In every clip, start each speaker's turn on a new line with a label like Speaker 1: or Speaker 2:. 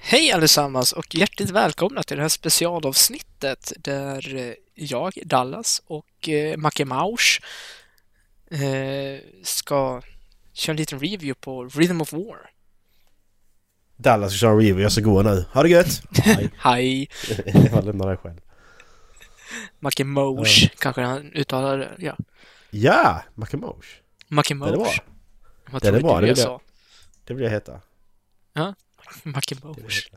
Speaker 1: Hej allesammans och hjärtligt välkomna till det här specialavsnittet där eh, jag, Dallas och eh, Macke Mausch eh, ska köra en liten review på Rhythm of War.
Speaker 2: Dallas ska köra en review, jag ska gå nu. Ha det gött! Nej,
Speaker 1: Hej!
Speaker 2: jag lämnar dig själv.
Speaker 1: Macke Mausch, kanske han uttalar det. Ja.
Speaker 2: Ja! Macamosh.
Speaker 1: Macke
Speaker 2: Det är bra.
Speaker 1: Mausch. Vad
Speaker 2: Det är
Speaker 1: trodde
Speaker 2: bra,
Speaker 1: du
Speaker 2: det
Speaker 1: jag
Speaker 2: vill
Speaker 1: sa?
Speaker 2: Det vill jag heta.
Speaker 1: Macke
Speaker 2: Det vill
Speaker 1: Mausch.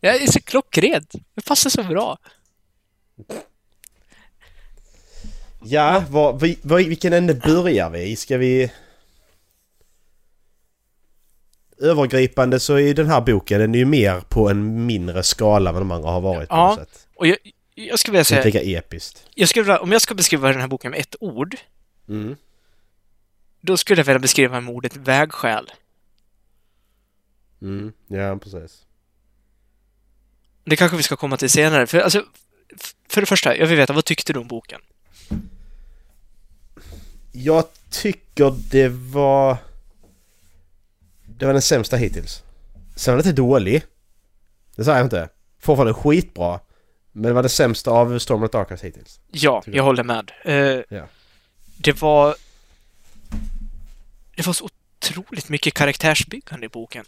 Speaker 2: jag heta.
Speaker 1: Jag är så klockren. Det passar så bra.
Speaker 2: Ja, var, vi, var, vilken ände börjar vi i? Ska vi... Övergripande så är ju den här boken, den är ju mer på en mindre skala än de andra har varit på
Speaker 1: Ja,
Speaker 2: något sätt.
Speaker 1: Och jag, jag skulle vilja
Speaker 2: Det är
Speaker 1: säga,
Speaker 2: inte lika episkt.
Speaker 1: jag skulle, vilja- om jag ska beskriva den här boken med ett ord,
Speaker 2: Mm.
Speaker 1: då skulle jag vilja beskriva den med ordet vägskäl.
Speaker 2: Mm. Ja, precis.
Speaker 1: Det kanske vi ska komma till senare. För, alltså, f- för det första, jag vill veta, vad tyckte du om boken?
Speaker 2: Jag tycker det var... Det var den sämsta hittills. Sen var den inte dålig. Det säger jag inte. Fortfarande skitbra. Men det var det sämsta av Storm of Darkness hittills.
Speaker 1: Ja,
Speaker 2: Tycker
Speaker 1: jag håller med. Eh,
Speaker 2: Ja.
Speaker 1: Det var... Det var så otroligt mycket karaktärsbyggande i boken.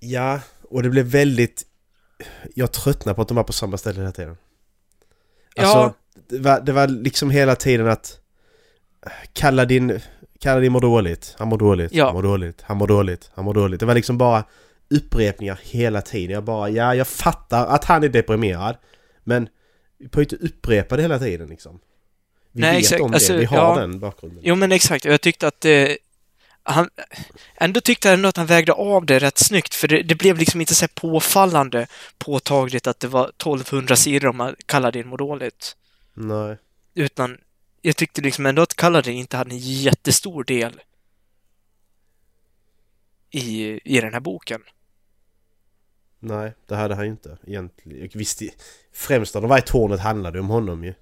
Speaker 2: Ja, och det blev väldigt... Jag tröttnade på att de var på samma ställe hela tiden. Alltså,
Speaker 1: Ja.
Speaker 2: det, var, det var liksom hela tiden att... Kalla din... Kalla din mår dåligt. Han mår dåligt.
Speaker 1: Ja.
Speaker 2: Han mår dåligt. Han mår dåligt. Han mår dåligt. Det var liksom bara upprepningar hela tiden. Jag bara, ja, jag fattar att han är deprimerad. Men vi får ju inte upprepa det hela tiden liksom. Vi
Speaker 1: Nej,
Speaker 2: vet
Speaker 1: exakt.
Speaker 2: om det.
Speaker 1: Alltså,
Speaker 2: vi har
Speaker 1: ja.
Speaker 2: den bakgrunden.
Speaker 1: Jo, men exakt. och Jag tyckte att... Eh, han, ändå tyckte jag ändå att han vägde av det rätt snyggt, för det, det blev liksom inte så här påfallande påtagligt att det var 1200 sidor om man kallar det må dåligt.
Speaker 2: Nej.
Speaker 1: Utan jag tyckte liksom ändå att Kaladin inte hade en jättestor del i, i den här boken.
Speaker 2: Nej, det hade han ju inte egentligen. Och Visst, i- främst när de var i tornet handlade det om honom ju.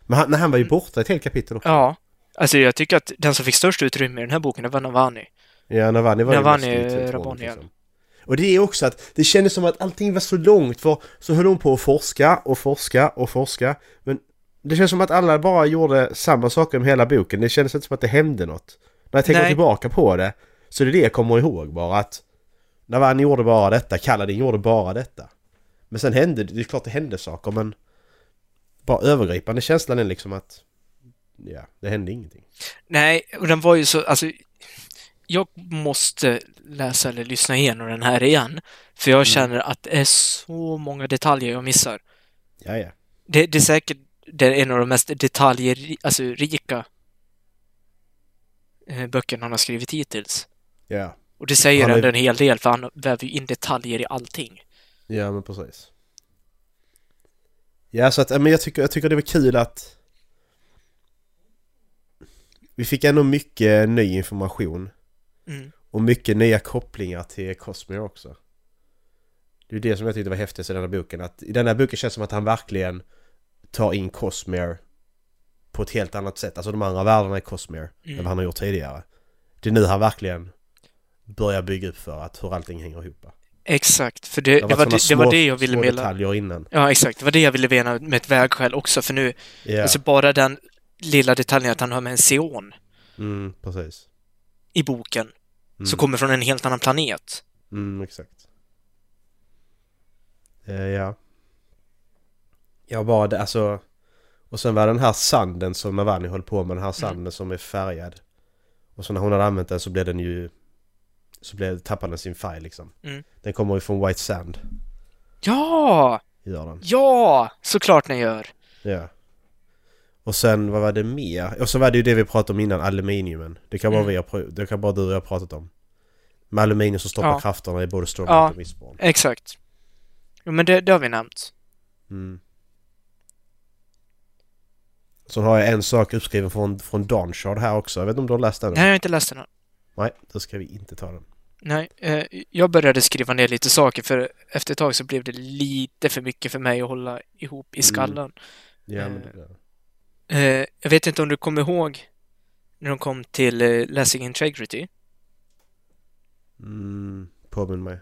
Speaker 2: Men han, nej, han var ju borta ett helt kapitel också.
Speaker 1: Ja. Alltså jag tycker att den som fick störst utrymme i den här boken, det var Navani.
Speaker 2: Ja, Navalny var
Speaker 1: Navalny
Speaker 2: ju mest i tornet,
Speaker 1: Rabon igen.
Speaker 2: Och det är också att det kändes som att allting var så långt för så höll hon på att forska och forska och forska. Men det känns som att alla bara gjorde samma saker med hela boken. Det kändes inte som att det hände något. När jag tänker
Speaker 1: Nej.
Speaker 2: tillbaka på det så är det det jag kommer ihåg bara att Navalny gjorde bara detta, Kaladin gjorde bara detta. Men sen hände det, det är klart det hände saker men bara övergripande känslan är liksom att ja, det hände ingenting.
Speaker 1: Nej, och den var ju så, alltså jag måste läsa eller lyssna igenom den här igen. För jag känner att det är så många detaljer jag missar.
Speaker 2: Ja, ja.
Speaker 1: Det, det är säkert det är en av de mest detaljer, alltså rika eh, böckerna han har skrivit hittills.
Speaker 2: Ja,
Speaker 1: Och det säger
Speaker 2: Han är-
Speaker 1: ändå en hel del, för han väver ju in detaljer i allting.
Speaker 2: Ja men precis. Ja så att, ja, men jag tycker, jag tycker det var kul att vi fick ändå mycket ny information
Speaker 1: Mm.
Speaker 2: och mycket nya kopplingar till Cosmere också. Det är ju det som jag tyckte var häftigt i den här boken, att i den här boken känns det som att han verkligen tar in Cosmere på ett helt annat sätt, alltså de andra världarna i Cosmere, än vad han har gjort tidigare. Det är nu han verkligen börjar bygga upp för att hur allting hänger ihop.
Speaker 1: Exakt, för det, det, var,
Speaker 2: sådana
Speaker 1: det, det var
Speaker 2: små-
Speaker 1: det jag ville
Speaker 2: små
Speaker 1: mena.
Speaker 2: detaljer innan.
Speaker 1: Ja, exakt. Det var det jag ville mena med ett vägskäl också, för nu,
Speaker 2: Ja.
Speaker 1: alltså bara den lilla detaljen att han har med en seon
Speaker 2: Mm, precis.
Speaker 1: i boken,
Speaker 2: Mm.
Speaker 1: som kommer från en helt annan planet.
Speaker 2: Mm, exakt. Eh, ja. Ja, bara det, alltså... Och sen var den här sanden som Navani höll på med, den här sanden som är färgad. Och så när hon hade använt den så blev den ju... Så blev, tappade den sin färg liksom.
Speaker 1: Mm.
Speaker 2: Den kommer ju från White Sand,
Speaker 1: Ja!
Speaker 2: gör den.
Speaker 1: Ja! Såklart ni gör!
Speaker 2: Ja. Och sen, vad var det mer? Och så var det ju det vi pratade om innan, aluminiumen. Det kan bara,
Speaker 1: Mm.
Speaker 2: vi har, pr- det kan bara du och jag ha pratat om. Med aluminium som stoppar
Speaker 1: Ja.
Speaker 2: krafterna i både Storm
Speaker 1: Ja.
Speaker 2: och Mistborn.
Speaker 1: Exakt. Jo, men det, det har vi nämnt.
Speaker 2: Mm. Så har jag en sak uppskriven från, från Danshard här också. Jag vet inte om du har läst den?
Speaker 1: Nej, jag har inte läst den än.
Speaker 2: Nej, då ska vi inte ta den.
Speaker 1: Nej, eh, jag började skriva ner lite saker för efter ett tag så blev det lite för mycket för mig att hålla ihop
Speaker 2: Mm.
Speaker 1: i skallen.
Speaker 2: Ja,
Speaker 1: Eh.
Speaker 2: men det,
Speaker 1: Eh, jag vet inte om du kommer ihåg när de kom till eh, Läsing Integrity.
Speaker 2: mm, påminn mig.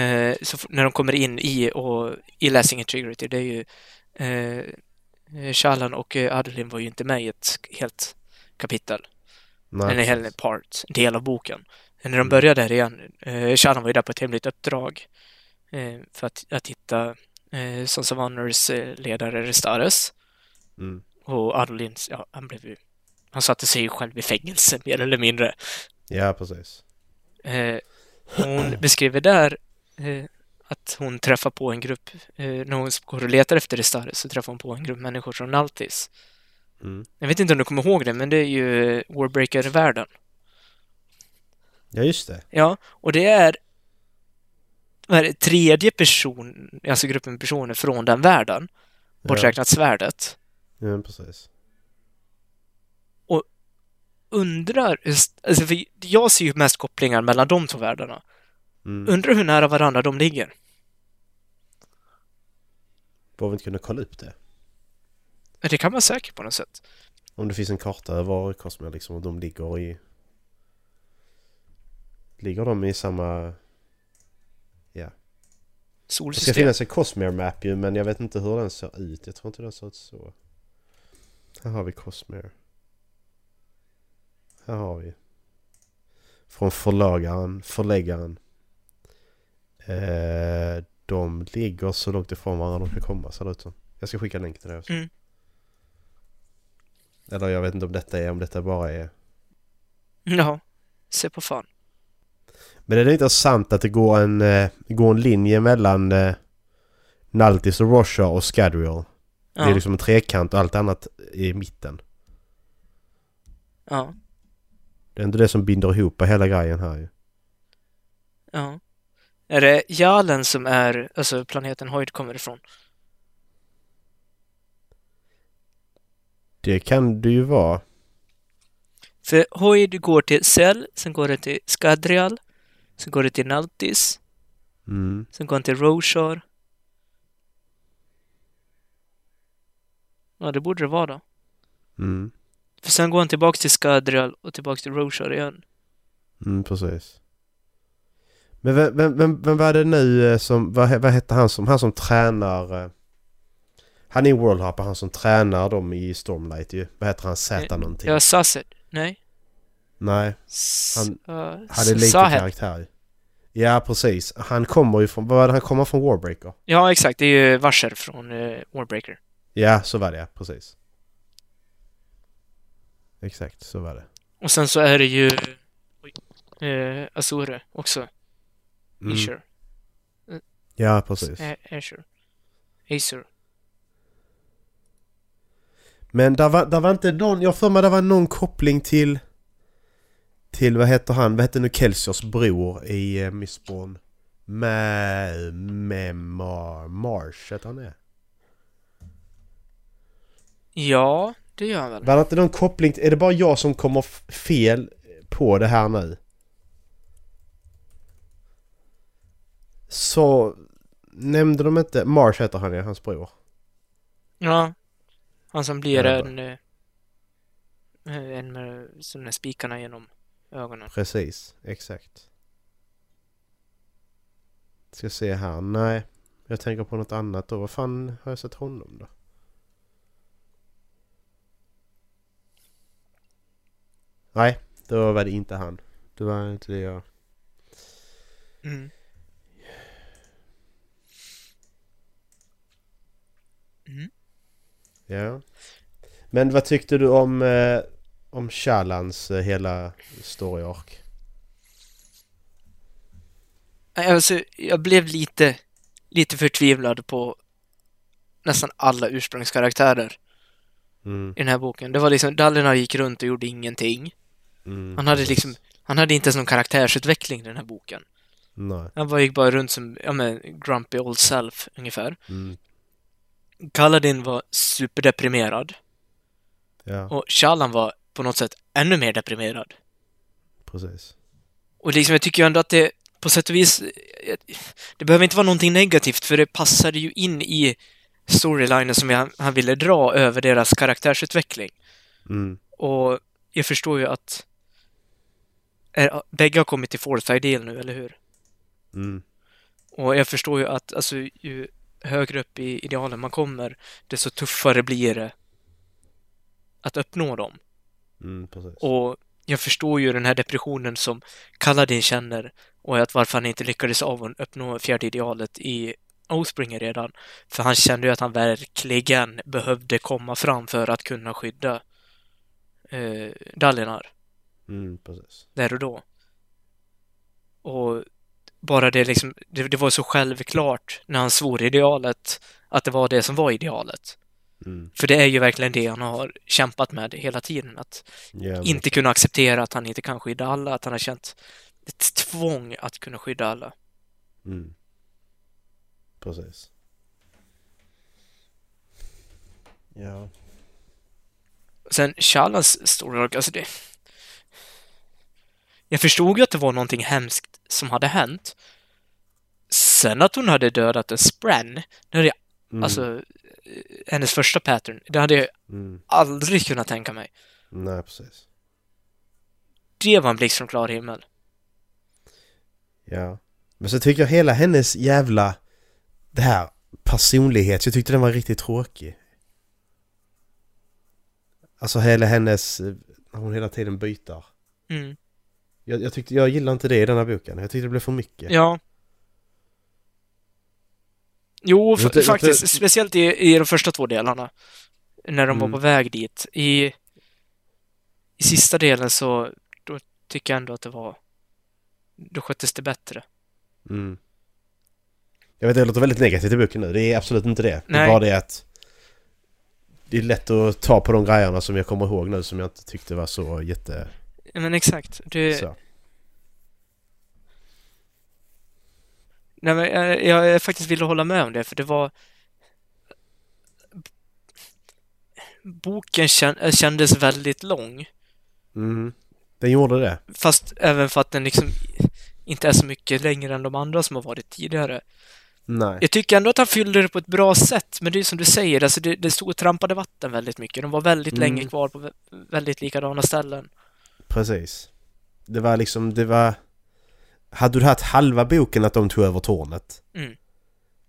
Speaker 1: eh, så, f- när de kommer in i, och, i Lessing Integrity, det är ju... Eh, Shalan och eh, Adeline var ju inte med i ett helt kapitel.
Speaker 2: Nej,
Speaker 1: en hel
Speaker 2: precis.
Speaker 1: part, en del av boken. Men när de
Speaker 2: Mm.
Speaker 1: började där igen, eh, Shannon var ju där på ett hemligt uppdrag eh, för att, att hitta eh, Sons of Honors eh, ledare Restares.
Speaker 2: Mm.
Speaker 1: Och Adolin, ja, han blev ju... Han satte sig ju själv i fängelse, mer eller mindre.
Speaker 2: Ja, precis.
Speaker 1: Eh, hon beskriver där eh, att hon träffar på en grupp, eh, när hon går och letar efter Restares så träffar hon på en grupp människor från Altis.
Speaker 2: Mm.
Speaker 1: Jag vet inte om du kommer ihåg det, men det är ju eh, Warbreaker-världen.
Speaker 2: Ja, just det.
Speaker 1: Ja, och det är vad är det, tredje person, alltså gruppen personer från den världen, borträknat svärdet.
Speaker 2: Ja, ja precis.
Speaker 1: Undrar, alltså för jag ser ju mest kopplingar mellan de två världarna.
Speaker 2: Mm.
Speaker 1: Undrar hur nära varandra de ligger.
Speaker 2: Borde vi inte kunna kolla upp det?
Speaker 1: Det kan man säkert på något sätt.
Speaker 2: Om det finns en karta över Cosmere liksom och de ligger i... Ligger de i samma... Det ska
Speaker 1: Solsystem.
Speaker 2: finnas en Cosmere map ju men jag vet inte hur den ser ut. Jag tror inte den ser ut så. Här har vi Cosmere. Här har vi. Från förlagaren, förläggaren. Eh, de ligger så långt ifrån varandra de kan komma ser det ut som. Jag ska skicka en länk till det också.
Speaker 1: Mm.
Speaker 2: Eller jag vet inte om detta är, om detta bara är...
Speaker 1: Ja, se på fan.
Speaker 2: Men är det inte sant att det går en, eh, går en linje mellan eh, Naltis och Russia och Scadrial? Det
Speaker 1: Ja,
Speaker 2: är liksom en trekant och allt annat i mitten.
Speaker 1: ja,
Speaker 2: Det är ändå det som binder ihop hela grejen här ju.
Speaker 1: ja. Är det Jalen som är, alltså planeten Hoyd kommer ifrån?
Speaker 2: Det kan det ju vara.
Speaker 1: För Hoyd går till Cell, sen går det till Skadrial, sen går det till Naltis,
Speaker 2: Mm.
Speaker 1: Sen går han till Roshar. Ja, det borde det vara då.
Speaker 2: Mm.
Speaker 1: För sen går han tillbaks till Skadrial och tillbaks till Roshar igen.
Speaker 2: Mm, precis. Men vem, vem, vem, vem var det nu eh, som, vad, he- vad hette han som, han som tränar... eh, Han är i World Harp och han som tränar dem i Stormlight ju. Vad heter han? Z
Speaker 1: Eh,
Speaker 2: någonting?
Speaker 1: Ja, Sasset. Nej.
Speaker 2: Nej.
Speaker 1: S- eh,
Speaker 2: Han är lite
Speaker 1: Sahet.
Speaker 2: karaktär ju. Ja, precis. Han kommer ju från... Vad var det han kommer från? Warbreaker?
Speaker 1: Ja, exakt. Det är ju Varsel från eh, Warbreaker.
Speaker 2: Ja, så var det ja. Precis. Exakt, så var det.
Speaker 1: Och sen så är det ju oj, eh, Azure också.
Speaker 2: Mm.
Speaker 1: Azure.
Speaker 2: Ja, precis.
Speaker 1: Eh, Azure. Azure.
Speaker 2: Men där var, där var inte någon... Jag har för mig där var någon koppling till... Till vad heter han? Vad heter nu Kelsios bror i eh, Mistborn? Med... Med Mar, Marsh heter han det?
Speaker 1: Ja, det gör han väl.
Speaker 2: Var det inte någon koppling? Är det bara jag som kommer f- fel på det här nu? Så nämnde de inte... Marsh heter han ja, hans bror.
Speaker 1: Ja. Han som blir
Speaker 2: Ja, det är
Speaker 1: en... eh, eh, En med såna här spikarna genom ögonen.
Speaker 2: Precis, exakt. Ska se här, nej. Jag tänker på något annat då. Vad fan har jag sett honom då? Nej, då var det inte han. Det var inte det jag...
Speaker 1: Mm.
Speaker 2: Ja. Men vad tyckte du om, eh, om Shalans eh, hela story arc?
Speaker 1: Nej, Alltså, jag blev lite, lite förtvivlad på nästan alla ursprungskaraktärer
Speaker 2: Mm,
Speaker 1: i den här boken. Det var liksom, Dallina gick runt och gjorde ingenting.
Speaker 2: mm,
Speaker 1: Han hade
Speaker 2: precis.
Speaker 1: liksom, han hade inte ens någon karaktärsutveckling i den här boken.
Speaker 2: Nej.
Speaker 1: Han bara gick bara runt som, ja men, grumpy old self, ungefär.
Speaker 2: Mm,
Speaker 1: Kaladin var superdeprimerad.
Speaker 2: ja,
Speaker 1: Och Shalan var på något sätt ännu mer deprimerad.
Speaker 2: precis.
Speaker 1: Och liksom, jag tycker ju ändå att det på sätt och vis... eh, Det behöver inte vara någonting negativt, för det passade ju in i storylinen som jag, han ville dra över deras karaktärsutveckling.
Speaker 2: Mm,
Speaker 1: Och jag förstår ju att... eh, Är, bägge har kommit till Forth Ideal nu, eller hur?
Speaker 2: mm,
Speaker 1: Och jag förstår ju att alltså, ju högre upp i idealen man kommer, desto tuffare blir det att uppnå dem.
Speaker 2: Mm, precis.
Speaker 1: Och jag förstår ju den här depressionen som Kaladin känner och att varför han inte lyckades av att uppnå fjärde idealet i Ospringer redan. För han kände ju att han verkligen behövde komma fram för att kunna skydda eh, Dalinar
Speaker 2: Mm, precis.
Speaker 1: där och då. Och bara det liksom, det, det var så självklart när han svor idealet att det var det som var idealet.
Speaker 2: Mm.
Speaker 1: För det är ju verkligen det han har kämpat med hela tiden, att
Speaker 2: Ja, men-
Speaker 1: inte kunna acceptera att han inte kan skydda alla, att han har känt ett tvång att kunna skydda alla.
Speaker 2: Mm. Precis. Ja.
Speaker 1: Sen Chalas story arc, alltså det... Jag förstod ju att det var någonting hemskt som hade hänt. Sen att hon hade dödat en Spren, det hade jag,
Speaker 2: Mm.
Speaker 1: alltså eh, hennes första pattern, det hade jag
Speaker 2: Mm.
Speaker 1: aldrig kunnat tänka mig.
Speaker 2: Nej, precis.
Speaker 1: Det var en blixt från klar himmel.
Speaker 2: Ja. Men så tycker jag hela hennes jävla... Det här personlighet. Jag tyckte den var riktigt tråkig. Alltså hela hennes... eh, Hon hela tiden byter.
Speaker 1: Mm.
Speaker 2: Jag, jag, tyckte, jag gillar inte det i den här boken. Jag tyckte det blev för mycket.
Speaker 1: Ja. Jo, fa-
Speaker 2: Jag ty- jag ty-
Speaker 1: faktiskt. Speciellt i, i de första två delarna. När de
Speaker 2: Mm.
Speaker 1: var på väg dit. I, I sista delen så då tycker jag ändå att det var... Då sköttes det bättre.
Speaker 2: Mm. Jag vet, det låter väldigt negativt i boken nu. Det är absolut inte det. Det är
Speaker 1: Nej.
Speaker 2: bara det att... Det är lätt att ta på de grejerna som jag kommer ihåg nu som jag inte tyckte var så jätte...
Speaker 1: Men exakt. Det,
Speaker 2: Så.
Speaker 1: nej, men jag, jag, jag faktiskt ville hålla med om det, för det var... Boken kän- eh, kändes väldigt lång.
Speaker 2: Mm. Den gjorde det.
Speaker 1: Fast även för att den liksom inte är så mycket längre än de andra som har varit tidigare.
Speaker 2: Nej.
Speaker 1: Jag tycker ändå att han fyllde det på ett bra sätt, men det är som du säger, alltså det, det stod och trampade vatten väldigt mycket. De var väldigt
Speaker 2: Mm.
Speaker 1: länge kvar på vä- väldigt likadana ställen.
Speaker 2: Precis. Det var liksom, det var... Hade du haft halva boken att de tog över tornet.
Speaker 1: Mm.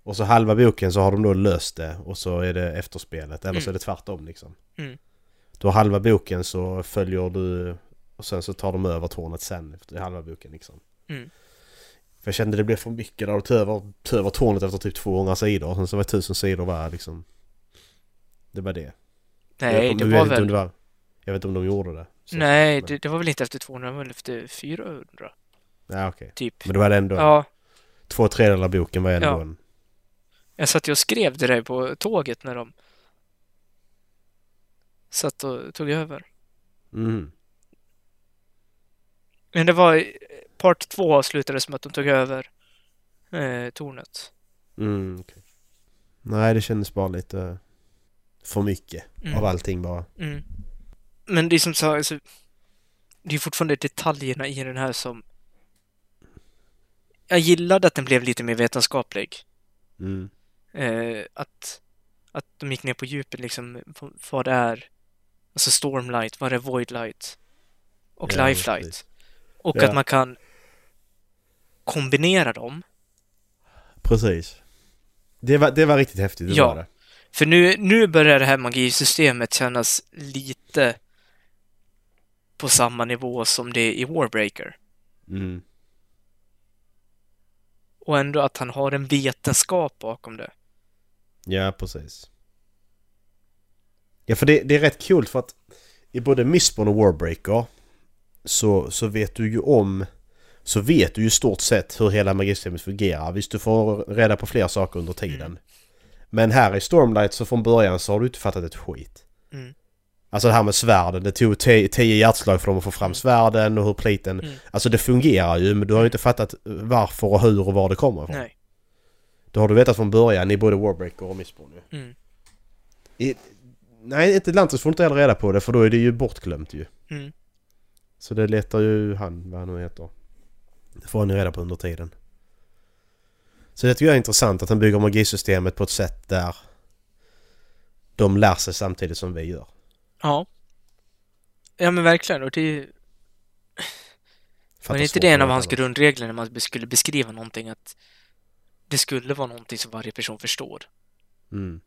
Speaker 2: Och så halva boken så har de då löst det och så är det efterspelet. Eller så är det tvärtom liksom.
Speaker 1: Mm.
Speaker 2: Du har halva boken så följer du och sen så tar de över tornet sen efter halva boken liksom.
Speaker 1: Mm.
Speaker 2: För jag kände det blev för mycket där de tog över, tog över tornet efter typ 200 sidor. Sen så var det 1000 sidor var liksom. Det var det. jag,
Speaker 1: Nej,
Speaker 2: vet-
Speaker 1: det
Speaker 2: jag vet
Speaker 1: var
Speaker 2: inte om
Speaker 1: väl...
Speaker 2: det var, jag vet inte om de gjorde det. Så-
Speaker 1: Nej,
Speaker 2: men-
Speaker 1: det, det var väl inte efter 200, det var väl efter 400,
Speaker 2: Ja, okej.
Speaker 1: typ.
Speaker 2: Men det var det ändå.
Speaker 1: Ja,
Speaker 2: Två tredjedelar av boken var ändå
Speaker 1: Ja.
Speaker 2: en...
Speaker 1: jag satt ju och skrev det där på tåget när de satt och tog över.
Speaker 2: Mm.
Speaker 1: Men det var... Part två avslutades med att de tog över eh, tornet.
Speaker 2: Mm, okej. Nej, det kändes bara lite för mycket
Speaker 1: Mm.
Speaker 2: av allting bara.
Speaker 1: Mm. Men det är som så, alltså, det är fortfarande detaljerna i den här som... Jag gillade att den blev lite mer vetenskaplig.
Speaker 2: Mm.
Speaker 1: Eh, att, att de gick ner på djupet, liksom, på vad det är. Alltså Stormlight, vad det är Voidlight? Och
Speaker 2: Ja,
Speaker 1: Lifelight.
Speaker 2: precis.
Speaker 1: Och
Speaker 2: Ja.
Speaker 1: att man kan kombinera dem.
Speaker 2: Precis. Det var, det var riktigt häftigt, det
Speaker 1: Ja.
Speaker 2: var det.
Speaker 1: För nu, nu börjar det här magisystemet kännas lite på samma nivå som det är i Warbreaker.
Speaker 2: Mm.
Speaker 1: och ändå att han har en vetenskap bakom det.
Speaker 2: Ja, precis. Ja, för det, det är rätt kul för att i både Mistborn och Warbreaker så, så vet du ju om så vet du ju i stort sett hur hela magisystemet fungerar. Visst, du får reda på fler saker under tiden.
Speaker 1: Mm.
Speaker 2: Men här i Stormlight så från början så har du inte fattat ett skit.
Speaker 1: Mm.
Speaker 2: Alltså det här med svärden, det tog te- tio hjärtslag för dem att få fram svärden och hur pliten...
Speaker 1: Mm.
Speaker 2: Alltså det fungerar ju men du har ju inte fattat varför och hur och var det kommer ifrån.
Speaker 1: Nej.
Speaker 2: Det har du vetat från början i både Warbreaker och Mistborn ju.
Speaker 1: Mm.
Speaker 2: I, nej, inte Lantus får inte heller reda på det för då är det ju bortglömt ju.
Speaker 1: Mm.
Speaker 2: Så det letar ju han, vad han nu heter. Det får han ju reda på under tiden. Så det tycker jag är intressant att han bygger magisystemet på ett sätt där de lär sig samtidigt som vi gör.
Speaker 1: Ja. Ja men verkligen. Och det är ju...
Speaker 2: Fattar
Speaker 1: Men är inte
Speaker 2: svårt
Speaker 1: det en
Speaker 2: att
Speaker 1: av
Speaker 2: veta
Speaker 1: hans
Speaker 2: vad-
Speaker 1: grundregler när man skulle beskriva någonting att det skulle vara någonting som varje person förstår.
Speaker 2: Mm.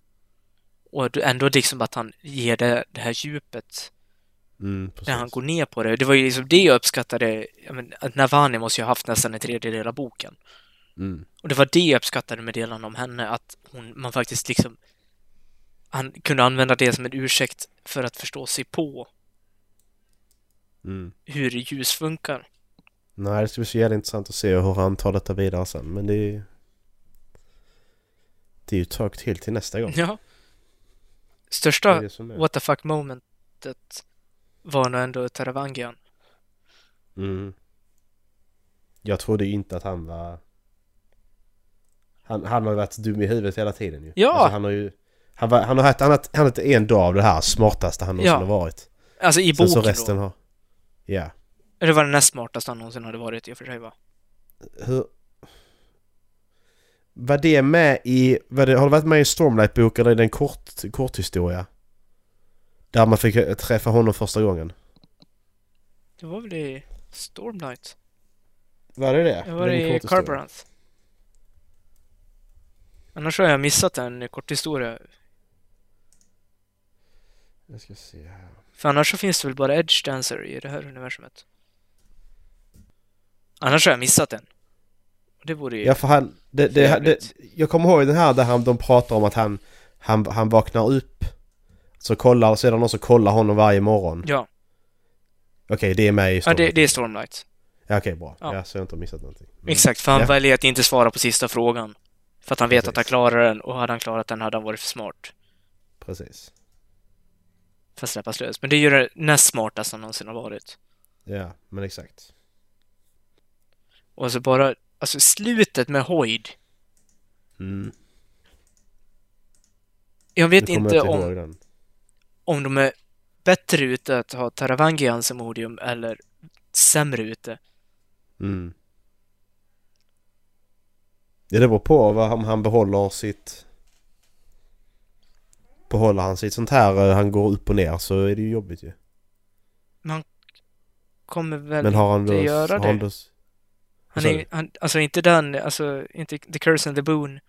Speaker 1: Och du- ändå liksom att han ger det, det här djupet
Speaker 2: Mm,
Speaker 1: när
Speaker 2: precis.
Speaker 1: han går ner på det. Det var ju liksom det jag uppskattade. Jag men, att Navani måste ju ha haft nästan en tredjedel av boken.
Speaker 2: Mm.
Speaker 1: Och det var det jag uppskattade med delen om henne, att hon, man faktiskt liksom... Han kunde använda det som en ursäkt för att förstå sig på
Speaker 2: Mm.
Speaker 1: hur ljus funkar.
Speaker 2: Nej, det ska bli så jävla intressant att se hur han tar detta vidare sen. Men det är ju... Det är ju ett tag till till nästa gång.
Speaker 1: Ja.
Speaker 2: Det är
Speaker 1: Största
Speaker 2: det som är.
Speaker 1: what the fuck momentet var nog ändå Taravangian.
Speaker 2: Mm. Jag trodde ju inte att han var... Han, han har ju varit dum i huvudet hela tiden ju.
Speaker 1: Ja!
Speaker 2: Alltså, han har ju... Han, var, han har haft, han har, han har haft en dag av det här smartaste han någonsin
Speaker 1: Ja.
Speaker 2: har varit.
Speaker 1: Alltså i
Speaker 2: Sen
Speaker 1: boken
Speaker 2: så
Speaker 1: då.
Speaker 2: resten har... Ja.
Speaker 1: Det var den näst smartaste han någonsin hade varit i och för sig va?
Speaker 2: Hur... Var det med i... Var det, har det varit med i Stormlight-boken eller i den kort, korthistoria? Där man fick eh, träffa honom första gången.
Speaker 1: Det var väl i Stormlight?
Speaker 2: Var det det?
Speaker 1: Det var
Speaker 2: Den
Speaker 1: i
Speaker 2: korthistorien?
Speaker 1: Carbaranth. Annars har jag missat en kort historia.
Speaker 2: Jag ska se här.
Speaker 1: För annars så finns det väl bara Edge Dancer i det här universumet. Annars har jag missat en. Och Det vore ju...
Speaker 2: Ja för han, det, det, det,
Speaker 1: Jävligt.
Speaker 2: jag kommer ihåg den här där han, de pratar om att han, han, han vaknar upp så kollar, så är det någon som kollar honom varje morgon.
Speaker 1: Ja,
Speaker 2: Okej, det är med i
Speaker 1: ja
Speaker 2: storyn.
Speaker 1: det, det är Stormlight.
Speaker 2: Ja, Okej, bra.
Speaker 1: Ja.
Speaker 2: Ja. så jag inte har missat någonting. Mm.
Speaker 1: Exakt, för han
Speaker 2: Ja.
Speaker 1: väljer att inte svara på sista frågan. För att han vet att han
Speaker 2: Precis.
Speaker 1: klarar den och hade han klarat den hade han varit för smart.
Speaker 2: Precis.
Speaker 1: För att släppas lös. Men det är ju det näst smartaste han någonsin har varit.
Speaker 2: Ja, men exakt.
Speaker 1: Och alltså bara... Alltså slutet med Hoyd.
Speaker 2: Mm.
Speaker 1: Jag
Speaker 2: Nu
Speaker 1: vet
Speaker 2: kommer
Speaker 1: inte
Speaker 2: jag
Speaker 1: om...
Speaker 2: ihåg den.
Speaker 1: om de är bättre ute att ha Taravangian som odium eller sämre ute.
Speaker 2: Mm. Ja, det beror på vad, om han behåller sitt... Behåller han sitt sånt här, eh, han går upp och ner så är det ju jobbigt ju.
Speaker 1: Kommer väl...
Speaker 2: Men har han då...
Speaker 1: inte göra
Speaker 2: har han
Speaker 1: det.
Speaker 2: då
Speaker 1: han
Speaker 2: sa
Speaker 1: är,
Speaker 2: du?
Speaker 1: han, alltså inte den, alltså inte The Curse and the Boon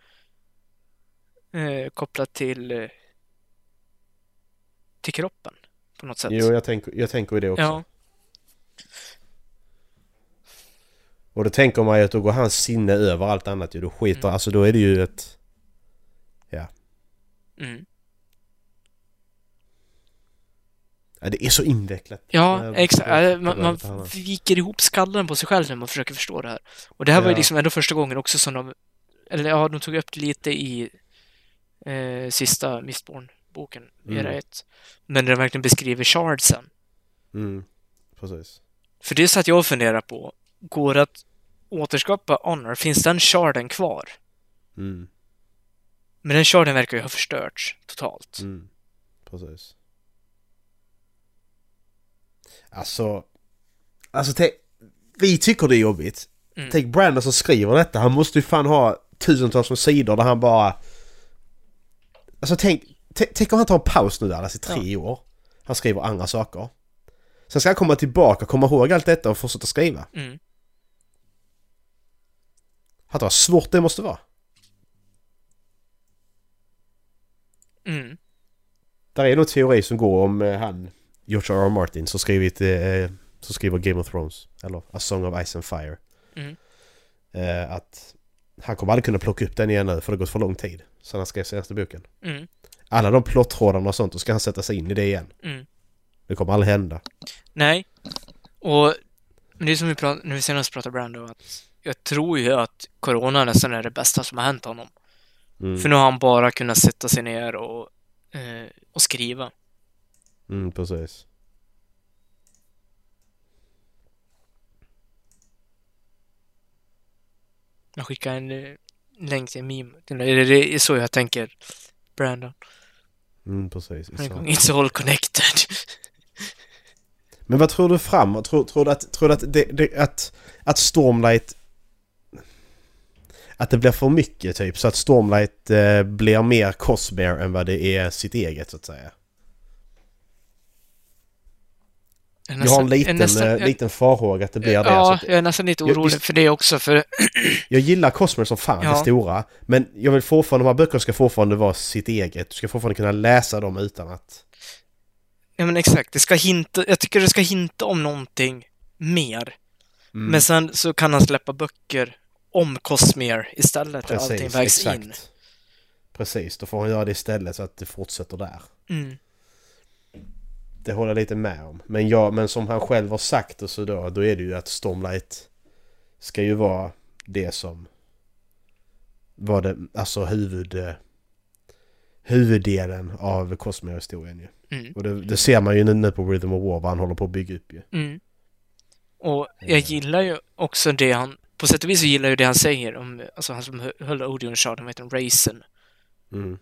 Speaker 1: eh, kopplat till eh, till kroppen på något sätt.
Speaker 2: Jo, jag tänker, jag tänker ju det också.
Speaker 1: ja,
Speaker 2: Och då tänker man ju att då går hans sinne över allt annat ju. Då skiter
Speaker 1: Mm.
Speaker 2: Alltså då är det ju ett...
Speaker 1: mm.
Speaker 2: Ja, det är så invecklat.
Speaker 1: ja
Speaker 2: Jag
Speaker 1: exakt.
Speaker 2: vet inte
Speaker 1: Eh, Man,
Speaker 2: vad
Speaker 1: man
Speaker 2: det handlar om.
Speaker 1: viker ihop skallen på sig själv när man försöker förstå det här. Och det här var ju
Speaker 2: Ja.
Speaker 1: liksom ändå första gången också som de, eller ja, de tog upp det lite i eh, sista Mistborn-boken,
Speaker 2: Mm.
Speaker 1: era ett. Men där de verkligen beskriver shardsen.
Speaker 2: Mm, precis.
Speaker 1: För det satt jag och funderade på. Går det att återskapa Honor? Finns den sharden kvar?
Speaker 2: Mm,
Speaker 1: Men den sharden verkar ju ha förstörts totalt.
Speaker 2: mm, precis. Alltså... Alltså tänk... Vi tycker det är jobbigt.
Speaker 1: Mm.
Speaker 2: Tänk Brandon som skriver detta. Han måste ju fan ha tusentals med sidor där han bara... Alltså tänk... t- Tänk om han tar en paus nu Dallas i tre år. Han skriver andra saker. Sen ska han komma tillbaka, komma ihåg allt detta och fortsätta skriva.
Speaker 1: Mm.
Speaker 2: Fattar vad svårt det måste vara.
Speaker 1: Mm.
Speaker 2: Där är nog teori som går om eh, han, George R. R. Martin, som skrivit, eh, som skriver Game of Thrones, eller A Song of Ice and Fire.
Speaker 1: Mm.
Speaker 2: Eh, att han kommer aldrig kunna plocka upp den igen nu, för det har gått för lång tid sedan han skrev senaste boken.
Speaker 1: Mm.
Speaker 2: Alla de plottrådarna och sånt, då ska han sätta sig in i det igen.
Speaker 1: Mm.
Speaker 2: Det kommer aldrig hända.
Speaker 1: Nej. Och men det är som vi pratade, när vi senast pratade Brando, att jag tror ju att corona nästan är det bästa som har hänt honom.
Speaker 2: Mm,
Speaker 1: För nu har han bara kunnat sätta sig ner och, eh, och skriva.
Speaker 2: mm precis.
Speaker 1: Jag skickar en eh, länk till en meme. Det är, det är så jag tänker. Brandon.
Speaker 2: Mm, precis.
Speaker 1: Han är
Speaker 2: Så.
Speaker 1: igång. It's all connected.
Speaker 2: Men vad tror du framåt? Tror, tror du att, tror du att, det, det, att, att Stormlight... Att det blir för mycket typ, så att Stormlight eh, blir mer Cosmere än vad det är sitt eget så att säga?
Speaker 1: är
Speaker 2: Jag har en
Speaker 1: nästan- jag är
Speaker 2: liten,
Speaker 1: nästan-
Speaker 2: eh,
Speaker 1: jag-
Speaker 2: liten farhåga att det blir det.
Speaker 1: Ja,
Speaker 2: Så att-
Speaker 1: jag är nästan lite
Speaker 2: Jag-
Speaker 1: orolig
Speaker 2: visst-
Speaker 1: för det också, för
Speaker 2: jag gillar Cosmer som fan,
Speaker 1: Ja.
Speaker 2: det stora. Men jag vill fortfarande, de här böckerna ska fortfarande vara sitt eget. Du ska fortfarande kunna läsa dem utan att...
Speaker 1: Ja men exakt, det ska hinta, jag tycker det ska hinta om någonting mer.
Speaker 2: Mm.
Speaker 1: Men sen så kan han släppa böcker om Cosmere istället, där allting vägs in.
Speaker 2: Precis, då får han göra det istället så att det fortsätter där.
Speaker 1: Mm.
Speaker 2: Det håller jag lite med om. Men, ja, men som han själv har sagt och så då, då är det ju att Stormlight ska ju vara det som var det, alltså huvud, eh, huvuddelen av Cosmere-historien ju.
Speaker 1: Mm.
Speaker 2: Och det, det ser man ju nu- nu på Rhythm of War vad han håller på att bygga upp ju.
Speaker 1: Mm. Och jag gillar ju också det han, på sätt och vis så gillar jag ju det han säger om, alltså han som hö- höll Odeon Shard, han heter Racen.
Speaker 2: Mm.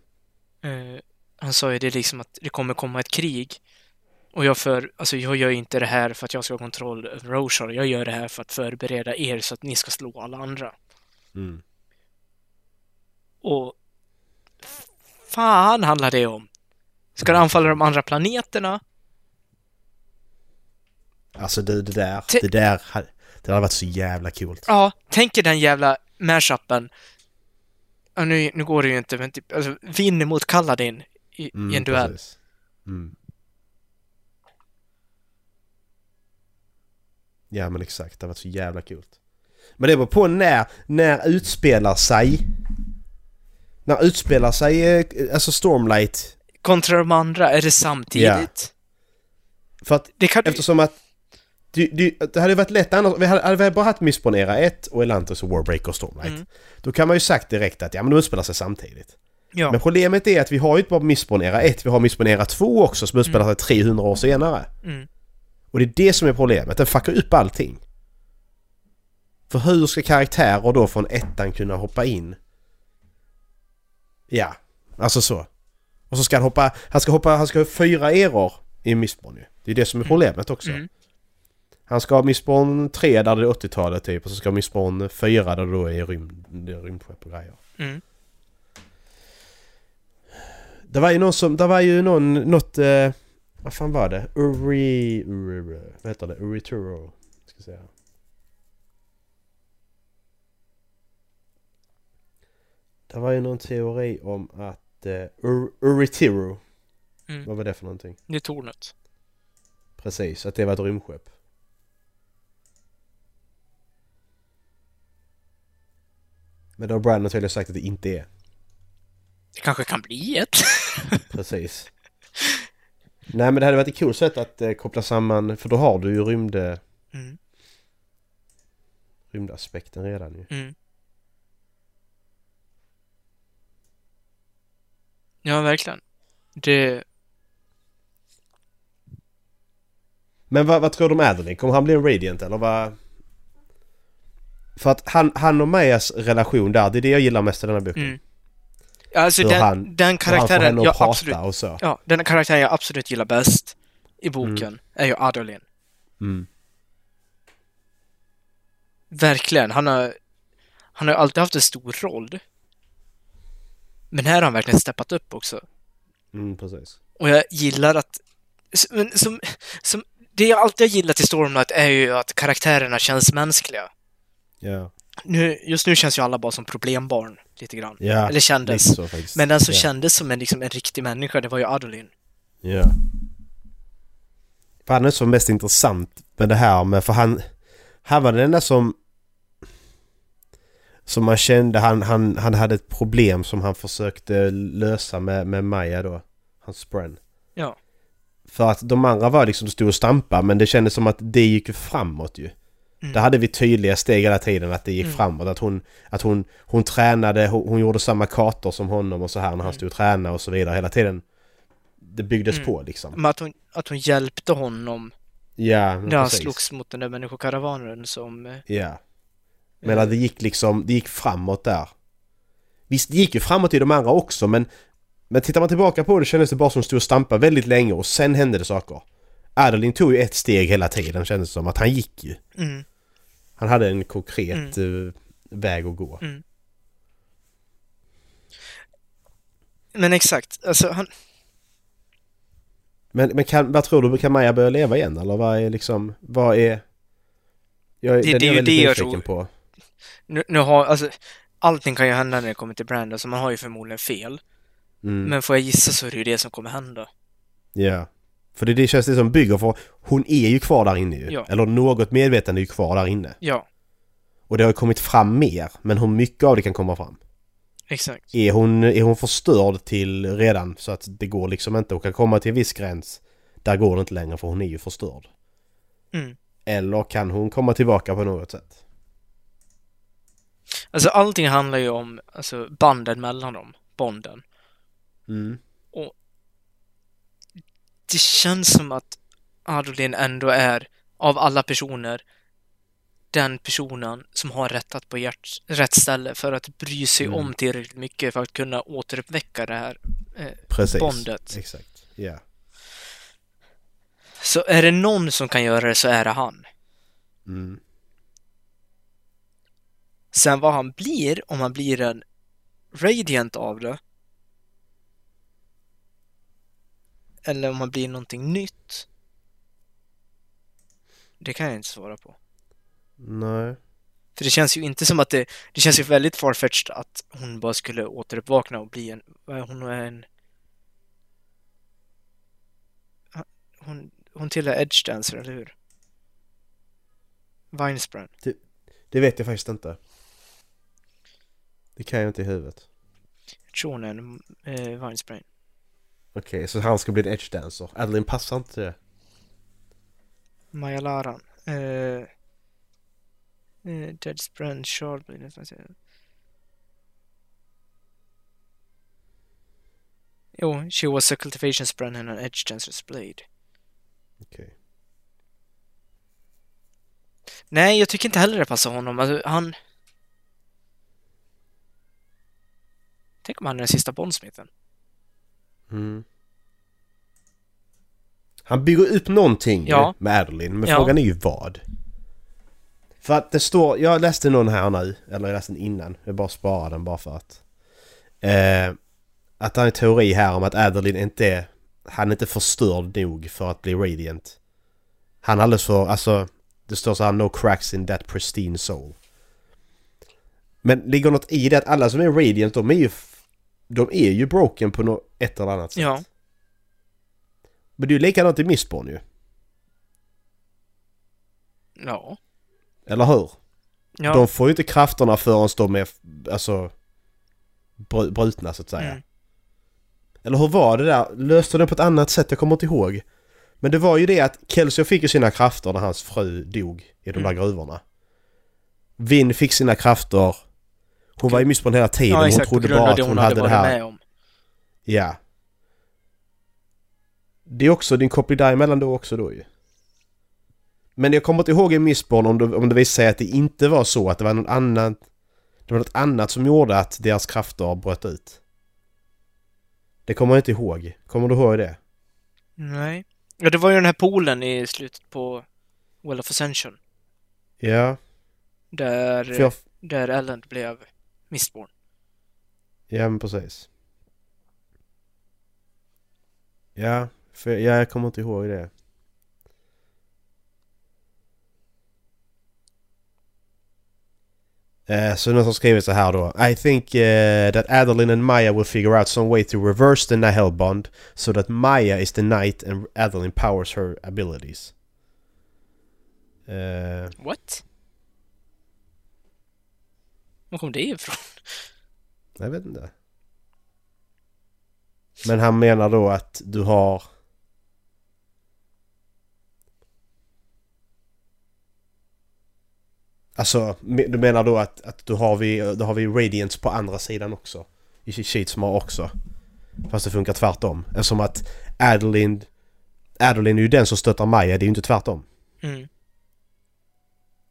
Speaker 1: Eh, han sa ju det liksom att det kommer komma ett krig. Och jag för, alltså jag gör inte det här för att jag ska ha kontroll över Roshar, jag gör det här för att förbereda er så att ni ska slå alla andra.
Speaker 2: Mm.
Speaker 1: Och fan handlar det om? Ska det anfalla de andra planeterna?
Speaker 2: Alltså det, det där,
Speaker 1: Ty-
Speaker 2: det där, ha- det hade varit så jävla coolt.
Speaker 1: Ja, tänk er den jävla mashupen. Ja, nu, nu går det ju inte, men typ, alltså, vinner mot Kaladin i, i en duell.
Speaker 2: Mm, precis. Mm. Ja men exakt, det var så jävla kul. Men det beror på när, när utspelar sig... När utspelar sig, eh, alltså Stormlight?
Speaker 1: Kontra de andra, är det samtidigt?
Speaker 2: För att
Speaker 1: Det kan du...
Speaker 2: eftersom att... Du, du, det hade ju varit lätt annars, vi hade, hade vi bara haft Missponera 1 och Elantis och Warbreaker och Stormlight.
Speaker 1: Mm.
Speaker 2: Då kan man ju sagt direkt att ja men de utspelar sig samtidigt.
Speaker 1: Ja,
Speaker 2: Men problemet är att vi har ju inte bara Missponera 1, vi har Missponera 2 också som utspelar sig 300 år senare.
Speaker 1: mm,
Speaker 2: Och det är det som är problemet, den fuckar upp allting. För hur ska karaktärer då från ettan kunna hoppa in? Ja, alltså så. Och så ska han hoppa, han ska hoppa, han ska ha fyra eror i Mistborn ju. Det är det som är problemet också.
Speaker 1: Mm.
Speaker 2: Han ska ha Mistborn 3 där det är 80-talet typ och så ska ha Mistborn 4 där det då är rymd, det är rymdskepp och grejer.
Speaker 1: mm.
Speaker 2: Det var ju någon som, det var ju någon, något, eh, vad fan var det? Uri, Uri, Uri vad heter det? Uri Turo, ska säga. Det var ju någon teori om att eh, Ur, Uri Turo,
Speaker 1: Mm.
Speaker 2: vad var det för någonting?
Speaker 1: Det är tornet.
Speaker 2: Precis, att det var ett rymdskepp. Men då har Brandon tydligen sagt att det inte är.
Speaker 1: Det kanske kan bli ett.
Speaker 2: Precis. Nej men det hade varit ett kul sätt att eh, koppla samman, för då har du ju rymd, eh,
Speaker 1: Mm,
Speaker 2: rymdaspekten redan ju.
Speaker 1: mm. Ja, verkligen. Det...
Speaker 2: Men vad, vad tror du om Adderley? Kommer han bli en Radiant eller vad? För att han, han och Majas relation där, det är det jag gillar mest i den här boken.
Speaker 1: Mm. Alltså
Speaker 2: Hur
Speaker 1: den,
Speaker 2: han-
Speaker 1: den
Speaker 2: Hur han får
Speaker 1: karaktären,
Speaker 2: henne att
Speaker 1: jag
Speaker 2: prata
Speaker 1: absolut
Speaker 2: och så.
Speaker 1: Ja, den karaktären jag absolut gillar bäst i boken är ju Adolin.
Speaker 2: Mm.
Speaker 1: Verkligen. Han har, han har ju alltid haft en stor roll. Men här har han verkligen steppat upp också.
Speaker 2: Mm, precis.
Speaker 1: Och jag gillar att... s- Men som, som, det jag alltid har gillat i Stormlight är ju att karaktärerna känns mänskliga.
Speaker 2: Ja.
Speaker 1: Nu, just nu känns ju alla bara som problembarn, lite grann.
Speaker 2: Ja.
Speaker 1: Eller kändes.
Speaker 2: Lite så faktiskt.
Speaker 1: Men den som
Speaker 2: ja.
Speaker 1: kändes som en, liksom, en riktig människa, det var ju Adolin.
Speaker 2: Ja. För han är som mest intressant med det här med, för han... Han var den enda som... Som man kände, han, han, han hade ett problem som han försökte lösa med, med Maja då. Hans brand.
Speaker 1: Ja.
Speaker 2: För att de andra var liksom, de stod och stampade men det kändes som att det gick ju framåt ju. Där hade vi tydliga steg hela tiden att det gick framåt. Att hon, att hon, hon tränade, hon, hon gjorde samma kartor som honom och så här när han stod och tränade och så vidare hela tiden. Det byggdes på liksom.
Speaker 1: Men att hon, att hon hjälpte honom
Speaker 2: Ja,
Speaker 1: när
Speaker 2: men
Speaker 1: han
Speaker 2: Mm, precis.
Speaker 1: slogs mot den där människokaravanen som... eh,
Speaker 2: Ja. Men att det gick liksom, det gick framåt där. Visst, det gick ju framåt i de andra också men... Men tittar man tillbaka på det kändes det bara som att de stod och stampade väldigt länge och sen hände det saker. Adeline tog ju ett steg hela tiden kändes det som, att han gick ju.
Speaker 1: Mm.
Speaker 2: Han hade en konkret eh, väg att gå.
Speaker 1: Men exakt, alltså han...
Speaker 2: Men, men kan, vad tror du, kan Maja börja leva igen eller vad är liksom, vad är... Jag,
Speaker 1: Det-
Speaker 2: den
Speaker 1: det är
Speaker 2: jag
Speaker 1: ju
Speaker 2: väldigt
Speaker 1: det jag
Speaker 2: nyfiken
Speaker 1: tror.
Speaker 2: på.
Speaker 1: Nu, nu har, alltså, allting kan ju hända när det kommer till Brandon, så man har ju förmodligen fel.
Speaker 2: Mm.
Speaker 1: Men får jag gissa så är det ju det som kommer hända.
Speaker 2: Ja. För det, det känns det som bygger för hon är ju kvar där inne ju.
Speaker 1: Ja.
Speaker 2: Eller något medvetande är ju kvar där inne.
Speaker 1: Ja,
Speaker 2: Och det har ju kommit fram mer, men hur mycket av det kan komma fram?
Speaker 1: exakt.
Speaker 2: Är hon, är hon förstörd till redan så att det går liksom inte? Hon kan komma till en viss gräns, där går det inte längre för hon är ju förstörd.
Speaker 1: Mm.
Speaker 2: Eller kan hon komma tillbaka på något sätt?
Speaker 1: Alltså allting handlar ju om alltså, banden mellan dem, bonden.
Speaker 2: Mm.
Speaker 1: Det känns som att Adolin ändå är, av alla personer, den personen som har rättat på hjärt, rätt ställe för att bry sig
Speaker 2: Mm.
Speaker 1: om tillräckligt mycket för att kunna återuppväcka det här
Speaker 2: Precis.
Speaker 1: bondet.
Speaker 2: Exakt. Ja.
Speaker 1: Så är det någon som kan göra det så är det han.
Speaker 2: Mm.
Speaker 1: Sen vad han blir, om han blir en radiant av det. Eller om han blir någonting nytt. Det kan jag inte svara på.
Speaker 2: Nej.
Speaker 1: För det känns ju inte som att det... Det känns ju väldigt farfetched att hon bara skulle återuppvakna och bli en... vad är Hon är en... Hon, hon tillhör Edge Dancer, eller hur? Vinesbrand.
Speaker 2: Det vet jag faktiskt inte. Det kan jag inte i huvudet.
Speaker 1: Jag tror hon är en eh, Vinesbrand.
Speaker 2: Okej, så han ska bli en edge dancer. Adeline passar inte det.
Speaker 1: Maja Laran. Eh, eh, Judge Brand Shard blir nästan säga. Jo, she was a cultivation brand and an edge dancer's blade.
Speaker 2: Okej.
Speaker 1: Nej, jag tycker inte heller det passar honom. Alltså, han... Tänk om han är den sista bondsmiten.
Speaker 2: Mm. Han bygger upp någonting ju
Speaker 1: Ja.
Speaker 2: med Adeline, men
Speaker 1: Ja.
Speaker 2: frågan är ju vad. För att det står, jag läste någon här nu, eller jag läste den innan, jag bara sparade den bara för att. Eh, att han har en teori här om att Adeline inte är, han är inte förstörd nog för att bli radiant. Han är alldeles för, alltså, det står så här no cracks in that pristine soul. Men ligger något i det att alla som är radiant, de är ju, f- de är ju broken på nå ett eller annat sätt.
Speaker 1: Ja.
Speaker 2: Men det är ju likadant i Mistborn ju.
Speaker 1: Ja.
Speaker 2: Eller hur?
Speaker 1: Ja.
Speaker 2: De får ju inte krafterna förrän de är, alltså, bru- brutna så att säga.
Speaker 1: Mm.
Speaker 2: Eller hur var det där? Löste de det på ett annat sätt? Jag kommer inte ihåg. Men det var ju det att Kelso fick ju sina krafter när hans fru dog i de
Speaker 1: Mm.
Speaker 2: där gruvorna. Vin fick sina krafter. Hon var i Mistborn hela tiden.
Speaker 1: ja,
Speaker 2: hon
Speaker 1: exakt. På
Speaker 2: trodde
Speaker 1: grund
Speaker 2: bara
Speaker 1: av det
Speaker 2: att
Speaker 1: hon
Speaker 2: hon
Speaker 1: hade
Speaker 2: hade det
Speaker 1: varit
Speaker 2: här.
Speaker 1: med om.
Speaker 2: Ja. Det är också din koppling däremellan då också då ju. Men jag kommer inte ihåg i Mistborn om det, om det visade sig att det inte var så att det var något annat Det var något annat som gjorde att deras krafter bröt ut. Det kommer jag inte ihåg. Kommer du ihåg det?
Speaker 1: Nej. Ja, det var ju den här poolen i slutet på Well of Ascension.
Speaker 2: Ja,
Speaker 1: Där,
Speaker 2: för jag...
Speaker 1: där Ellen blev Mistborn.
Speaker 2: Ja, men precis. Ja, för ja, jag kommer inte ihåg det. Eh, Så någon som skrivit så här då. I think eh, that Adeline and Maya will figure out some way to reverse the Nihil bond so that Maya is the knight and Adeline powers her abilities. Eh,
Speaker 1: What? Var kom det ifrån?
Speaker 2: Jag vet inte. Men han menar då att du har... Alltså, me- du menar då att, att du har vi, då har vi Radiance på andra sidan också? I She- Sheets som har också. Fast det funkar tvärtom. Eftersom att Adeline... Adeline är ju den som stöttar Maja, det är ju inte tvärtom.
Speaker 1: Mm.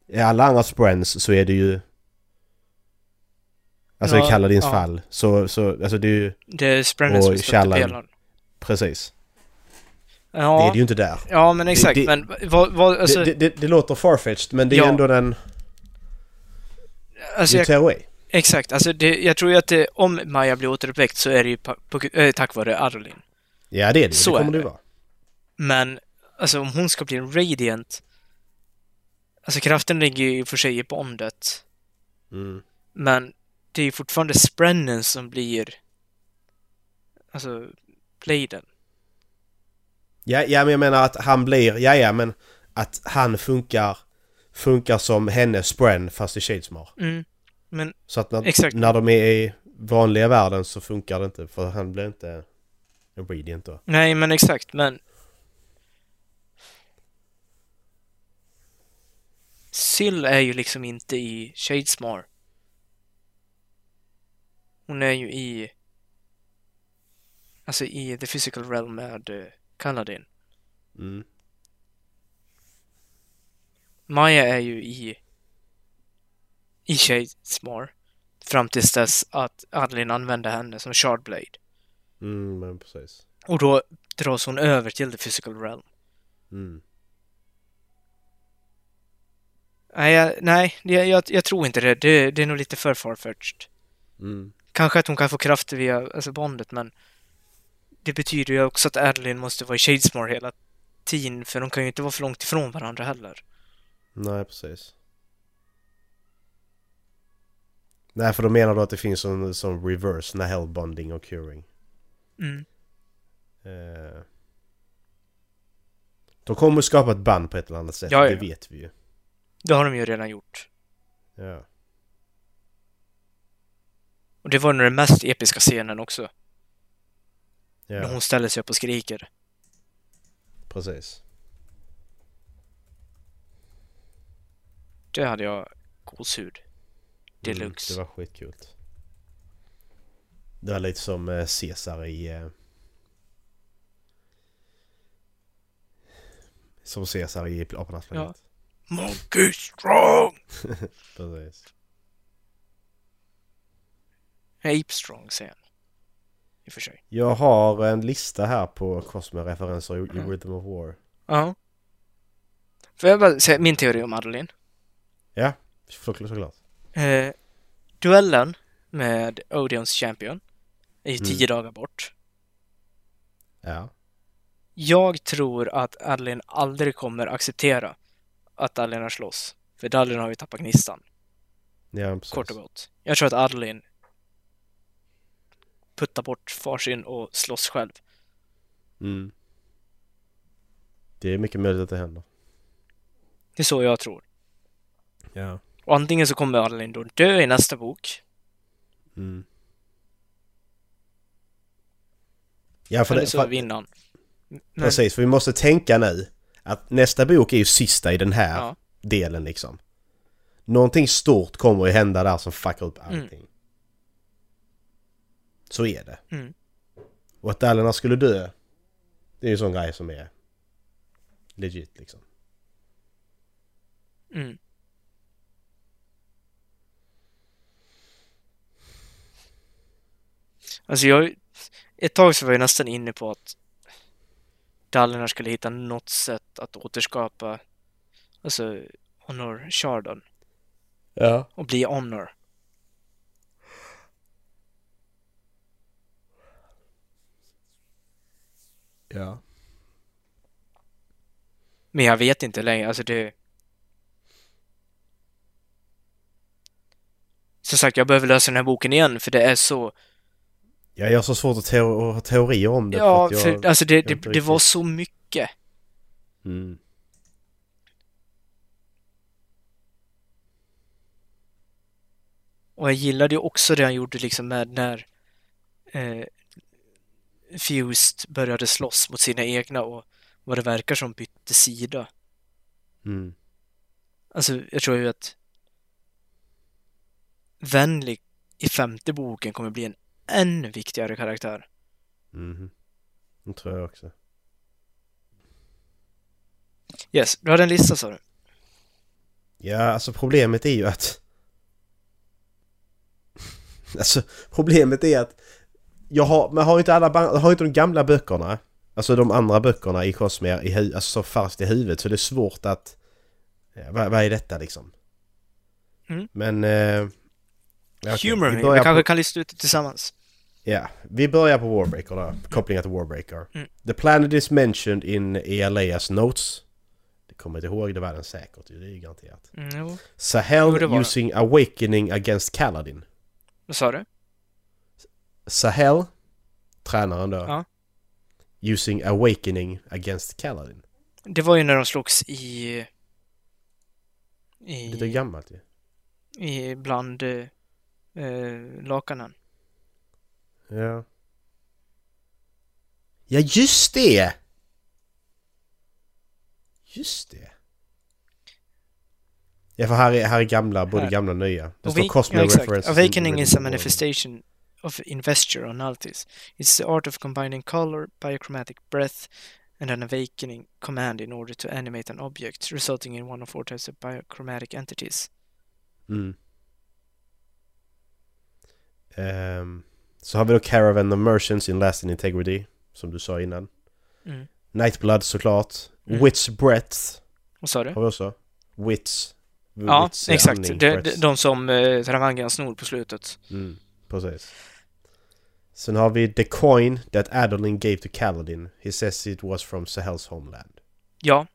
Speaker 2: I alla andra brands så är det ju... Alltså
Speaker 1: Ja,
Speaker 2: i Kaladins
Speaker 1: ja.
Speaker 2: fall. Så, så, alltså det är ju...
Speaker 1: Det är Sprenners
Speaker 2: Och
Speaker 1: som stötte
Speaker 2: Challan.
Speaker 1: pelaren.
Speaker 2: Precis. Det är
Speaker 1: Ja,
Speaker 2: det ju inte där.
Speaker 1: ja, men exakt.
Speaker 2: det-
Speaker 1: men vad, vad, alltså,
Speaker 2: det, det, det låter farfetched men det är
Speaker 1: Ja.
Speaker 2: ändå den...
Speaker 1: alltså,
Speaker 2: you
Speaker 1: jag,
Speaker 2: tear away.
Speaker 1: exakt. Alltså, det, jag tror ju att det, om Maja blir återuppväckt så är det ju pa, på, eh, tack vare Adolin.
Speaker 2: Ja det är det ju.
Speaker 1: Så
Speaker 2: Det kommer
Speaker 1: är
Speaker 2: det ju
Speaker 1: det.
Speaker 2: vara.
Speaker 1: Men alltså om hon ska bli en Radiant... Alltså kraften ligger ju i och för sig i bondet.
Speaker 2: Mm.
Speaker 1: Men det är ju fortfarande sprennen som blir... Alltså, bladen.
Speaker 2: Ja, ja, men jag menar att han blir, ja, ja, men att han funkar, funkar som hennes spren fast i Shadesmar.
Speaker 1: Mm. Men
Speaker 2: Så att när,
Speaker 1: Exakt.
Speaker 2: när de är i vanliga världen så funkar det inte för han blir inte en Radiant då.
Speaker 1: Nej, men exakt, men... Syl är ju liksom inte i Shadesmar. Hon är ju i... Alltså i the physical realm med eh, Kaladin.
Speaker 2: Mm.
Speaker 1: Maya är ju i... I Shadesmar. Fram tills dess att Adeline använde henne som Shardblade.
Speaker 2: Mm, men precis.
Speaker 1: Och då dras hon över till the physical realm.
Speaker 2: Mm.
Speaker 1: Nej, jag, nej jag, jag, jag tror inte det. det. Det är nog lite för farfetched.
Speaker 2: Mm.
Speaker 1: Kanske att hon kan få krafter via alltså bondet, men det betyder ju också att Adeline måste vara i Shadesmore hela tiden, för de kan ju inte vara för långt ifrån varandra heller.
Speaker 2: Nej, precis. Nej, för då menar du att det finns en sån reverse Nahel bonding och curing.
Speaker 1: Mm.
Speaker 2: Eh. De kommer skapa ett band på ett eller annat sätt,
Speaker 1: Ja, ja,
Speaker 2: det
Speaker 1: ja.
Speaker 2: vet vi ju.
Speaker 1: Det har de ju redan gjort.
Speaker 2: Ja.
Speaker 1: Och det var nog den mest episka scenen också,
Speaker 2: ja.
Speaker 1: när hon ställer sig upp och skriker.
Speaker 2: Precis.
Speaker 1: Det hade jag gåshud.
Speaker 2: Mm,
Speaker 1: Deluxe.
Speaker 2: det var skitkul. Det var lite som eh, Caesar i... Eh, som Caesar i Apornas planet.
Speaker 1: Monkey strong!
Speaker 2: Precis.
Speaker 1: Ape strong scen. I och för sig.
Speaker 2: Jag har en lista här på Cosmo-referenser i,
Speaker 1: Mm.
Speaker 2: i Rhythm of War.
Speaker 1: Ja. Får jag bara säga min teori om Adeline?
Speaker 2: Ja, såklart. såklart.
Speaker 1: Eh, duellen med Odeons Champion är ju
Speaker 2: Mm.
Speaker 1: tio dagar bort.
Speaker 2: Ja.
Speaker 1: Jag tror att Adeline aldrig kommer acceptera att Adeline har slåss. För Adeline har ju tappat gnistan,
Speaker 2: ja precis.
Speaker 1: kort och gott. Jag tror att Adeline puttar bort farsin och slåss själv.
Speaker 2: Mm. Det är mycket möjligt att det händer.
Speaker 1: Det är så jag tror.
Speaker 2: Ja.
Speaker 1: Och antingen så kommer Adeline då dö i nästa bok.
Speaker 2: Mm. Ja, för
Speaker 1: eller
Speaker 2: det,
Speaker 1: så
Speaker 2: för,
Speaker 1: vinner han. Men-
Speaker 2: Precis, för vi måste tänka nu att nästa bok är ju sista i den här
Speaker 1: Ja.
Speaker 2: delen liksom. Någonting stort kommer ju hända där som fuckar upp
Speaker 1: Mm.
Speaker 2: allting. Så är det.
Speaker 1: Mm.
Speaker 2: Och att Dallarna skulle dö, det är ju en sån grej som är legit liksom.
Speaker 1: Mm. Alltså jag... Ett tag så var jag nästan inne på att Dallerna skulle hitta något sätt att återskapa alltså Honor Chardon
Speaker 2: Ja.
Speaker 1: och bli Honor.
Speaker 2: Ja.
Speaker 1: Men jag vet inte längre, alltså det... Som sagt, jag behöver lösa den här boken igen för det är så...
Speaker 2: Jag har så svårt att teo- ha teorier om det.
Speaker 1: Ja,
Speaker 2: för att jag...
Speaker 1: för alltså det,
Speaker 2: jag
Speaker 1: det,
Speaker 2: inte
Speaker 1: det var
Speaker 2: riktigt-
Speaker 1: så mycket.
Speaker 2: Mm.
Speaker 1: Och jag gillade ju också det han gjorde liksom med när eh, Fused började slåss mot sina egna och vad det verkar som bytte sida.
Speaker 2: Mm.
Speaker 1: Alltså, jag tror ju att Vänlig i femte boken kommer bli en än viktigare karaktär.
Speaker 2: Mhm. Det tror jag också.
Speaker 1: Yes, du hade en lista sa du?
Speaker 2: Ja, alltså problemet är ju att... Alltså, problemet är att... Jag har, man har ju inte alla ban- har ju inte de gamla böckerna. Alltså de andra böckerna i Cosmere i hu- alltså så fast i huvudet så det är svårt att... ja, Vad, vad är detta liksom?
Speaker 1: Mm.
Speaker 2: Men... Eh, ja, okej.
Speaker 1: Humor
Speaker 2: Vi
Speaker 1: me, vi
Speaker 2: börjar
Speaker 1: Mm. kanske
Speaker 2: på-
Speaker 1: kan lista ut det tillsammans.
Speaker 2: Ja, vi börjar på Warbreaker då. Kopplingar till Warbreaker.
Speaker 1: Mm.
Speaker 2: The planet is mentioned in ELA's notes. Det kommer jag inte ihåg, det var den säkert. Det är ju garanterat.
Speaker 1: Mm, jo. Jo,
Speaker 2: Sahel
Speaker 1: det var det.
Speaker 2: using awakening against Kaladin.
Speaker 1: Vad sa du?
Speaker 2: Sahel, tränaren då.
Speaker 1: Ja.
Speaker 2: Using awakening against Kaladin.
Speaker 1: Det var ju när de slogs i... I...
Speaker 2: Lite gammalt ju.
Speaker 1: i bland eh, eh, lakanen.
Speaker 2: Ja. Ja, just det! Just det. Ja, för här är, här är gamla, både
Speaker 1: Här.
Speaker 2: gamla och nya. Det står
Speaker 1: Awa-
Speaker 2: Cosmic
Speaker 1: ja, exakt.
Speaker 2: References. in
Speaker 1: Awakening is a
Speaker 2: original
Speaker 1: manifestation of investure or nullties. It's the art of combining color, biochromatic breath and an awakening command in order to animate an object, resulting in one of four types of biochromatic entities.
Speaker 2: order. Mm. Ehm, så har vi då Caravan of Merchants in Last in Integrity, som du sa innan.
Speaker 1: Mm.
Speaker 2: Nightblood såklart.
Speaker 1: Mm.
Speaker 2: Wits Breath
Speaker 1: Vad sa du?
Speaker 2: har vi också. Wits.
Speaker 1: Ja,
Speaker 2: Wits är
Speaker 1: exakt.
Speaker 2: andning,
Speaker 1: De, de,
Speaker 2: breath.
Speaker 1: de som eh, Taravangan snor på slutet.
Speaker 2: Mm, precis. Sen har vi the coin that Adolin gave to Kaladin. He says it was from Sahels homeland.
Speaker 1: Ja,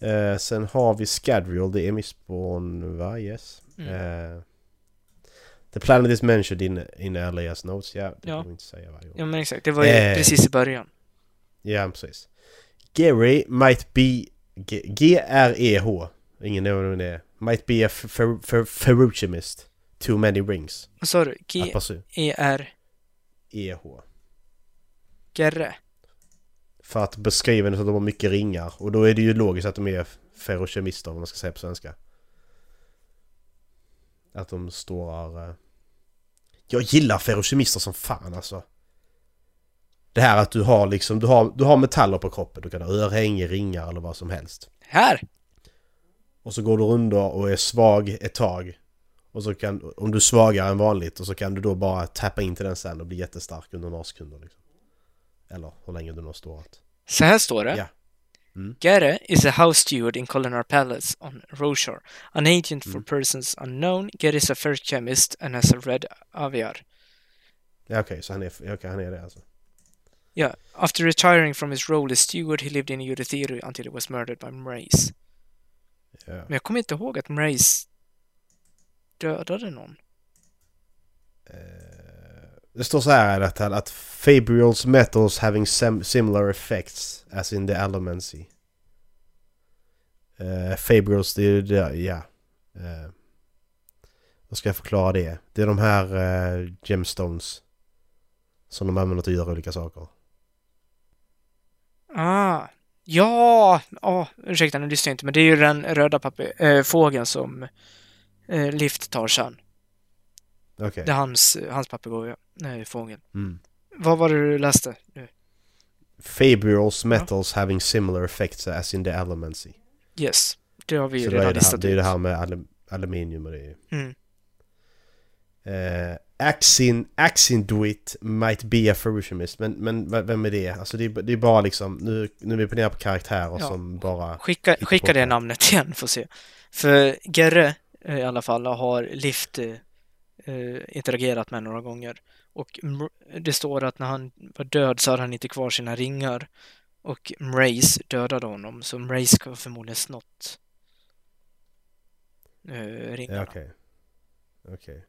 Speaker 2: Eh, sen har vi Scadrial, det är Missborn, va? Yes.
Speaker 1: Mm.
Speaker 2: Eh, the planet is mentioned in, in Elias notes, ja. Det
Speaker 1: Ja.
Speaker 2: behöver vi inte säga varje gång.
Speaker 1: ja men exakt. Det var ju
Speaker 2: Eh.
Speaker 1: precis i början.
Speaker 2: Ja, precis. Gary might be... G- G-R-E-H. Ingen aning om det är. Might be a fer- fer- fer- ferruchemist. Too many rings.
Speaker 1: Vad sa du? E
Speaker 2: Att passa-
Speaker 1: G-E-R...
Speaker 2: E-H.
Speaker 1: Gerre?
Speaker 2: För att beskriva det så att de har mycket ringar. Och då är det ju logiskt att de är ferrokemister, om man ska säga på svenska. Att de står... eh, Jag gillar ferrokemister som fan alltså. Det här att du har liksom, du har, du har metaller på kroppen. Du kan ha örhänge, ringar eller vad som helst.
Speaker 1: Här!
Speaker 2: Och så går du under och är svag ett tag. Och så kan, om du är svagare än vanligt, och så kan du då bara tappa in till den sen och bli jättestark under några sekunder liksom. Eller hur länge du nu har stått.
Speaker 1: Så här står det.
Speaker 2: Ja. Mm.
Speaker 1: Gere is a house steward in Kolinar Palace on Roshor. An agent
Speaker 2: Mm.
Speaker 1: for persons unknown, Gere is a first chemist and has a red aviar.
Speaker 2: Ja okej, så han är, ja, okej, han är det alltså.
Speaker 1: Yeah. After retiring from his role as steward, he lived in Eurytheru until he was murdered by Mrace.
Speaker 2: Ja.
Speaker 1: Men jag kommer inte ihåg att Mrace dödade någon.
Speaker 2: Det står så här i detta att Fabrials metals having sem- similar effects as in the allomancy. Uh, Fabrials, det är ju det, ja. Eh, Vad ska jag förklara det? Det är de här eh, gemstones. Som de använder till att göra olika saker.
Speaker 1: Ah! Ja! Ah, ursäkta, nu lyssnar jag inte, men det är ju den röda papi- äh, fågeln som äh, Lift tar sen.
Speaker 2: Okej.
Speaker 1: Det är hans, hans papegoja. Nej, fågel.
Speaker 2: Mm.
Speaker 1: Vad var det du läste nu?
Speaker 2: Fabrials metals having similar effects as in the allomancy.
Speaker 1: Yes, det har vi ju
Speaker 2: Så det är
Speaker 1: redan
Speaker 2: det här,
Speaker 1: listat
Speaker 2: det, är det
Speaker 1: ut.
Speaker 2: här med alum- aluminium och det är ju...
Speaker 1: Mm.
Speaker 2: Eh, Axin, Axin Duit might be a ferruchemist. Men, men v- vem är det? Alltså det är, det är bara liksom, nu, nu är vi på ner på karaktärer
Speaker 1: Ja.
Speaker 2: som bara...
Speaker 1: Skicka,
Speaker 2: Hitta
Speaker 1: skicka
Speaker 2: på
Speaker 1: det
Speaker 2: det.
Speaker 1: namnet igen, får se. För Gerre eh, i alla fall har Lift eh, eh, interagerat med några gånger. Och Mr- det står att när han var död så hade han inte kvar sina ringar. Och Mrace dödade honom, så Mrace har förmodligen snott eh,
Speaker 2: Ja,
Speaker 1: ringarna.
Speaker 2: Okej. Okej.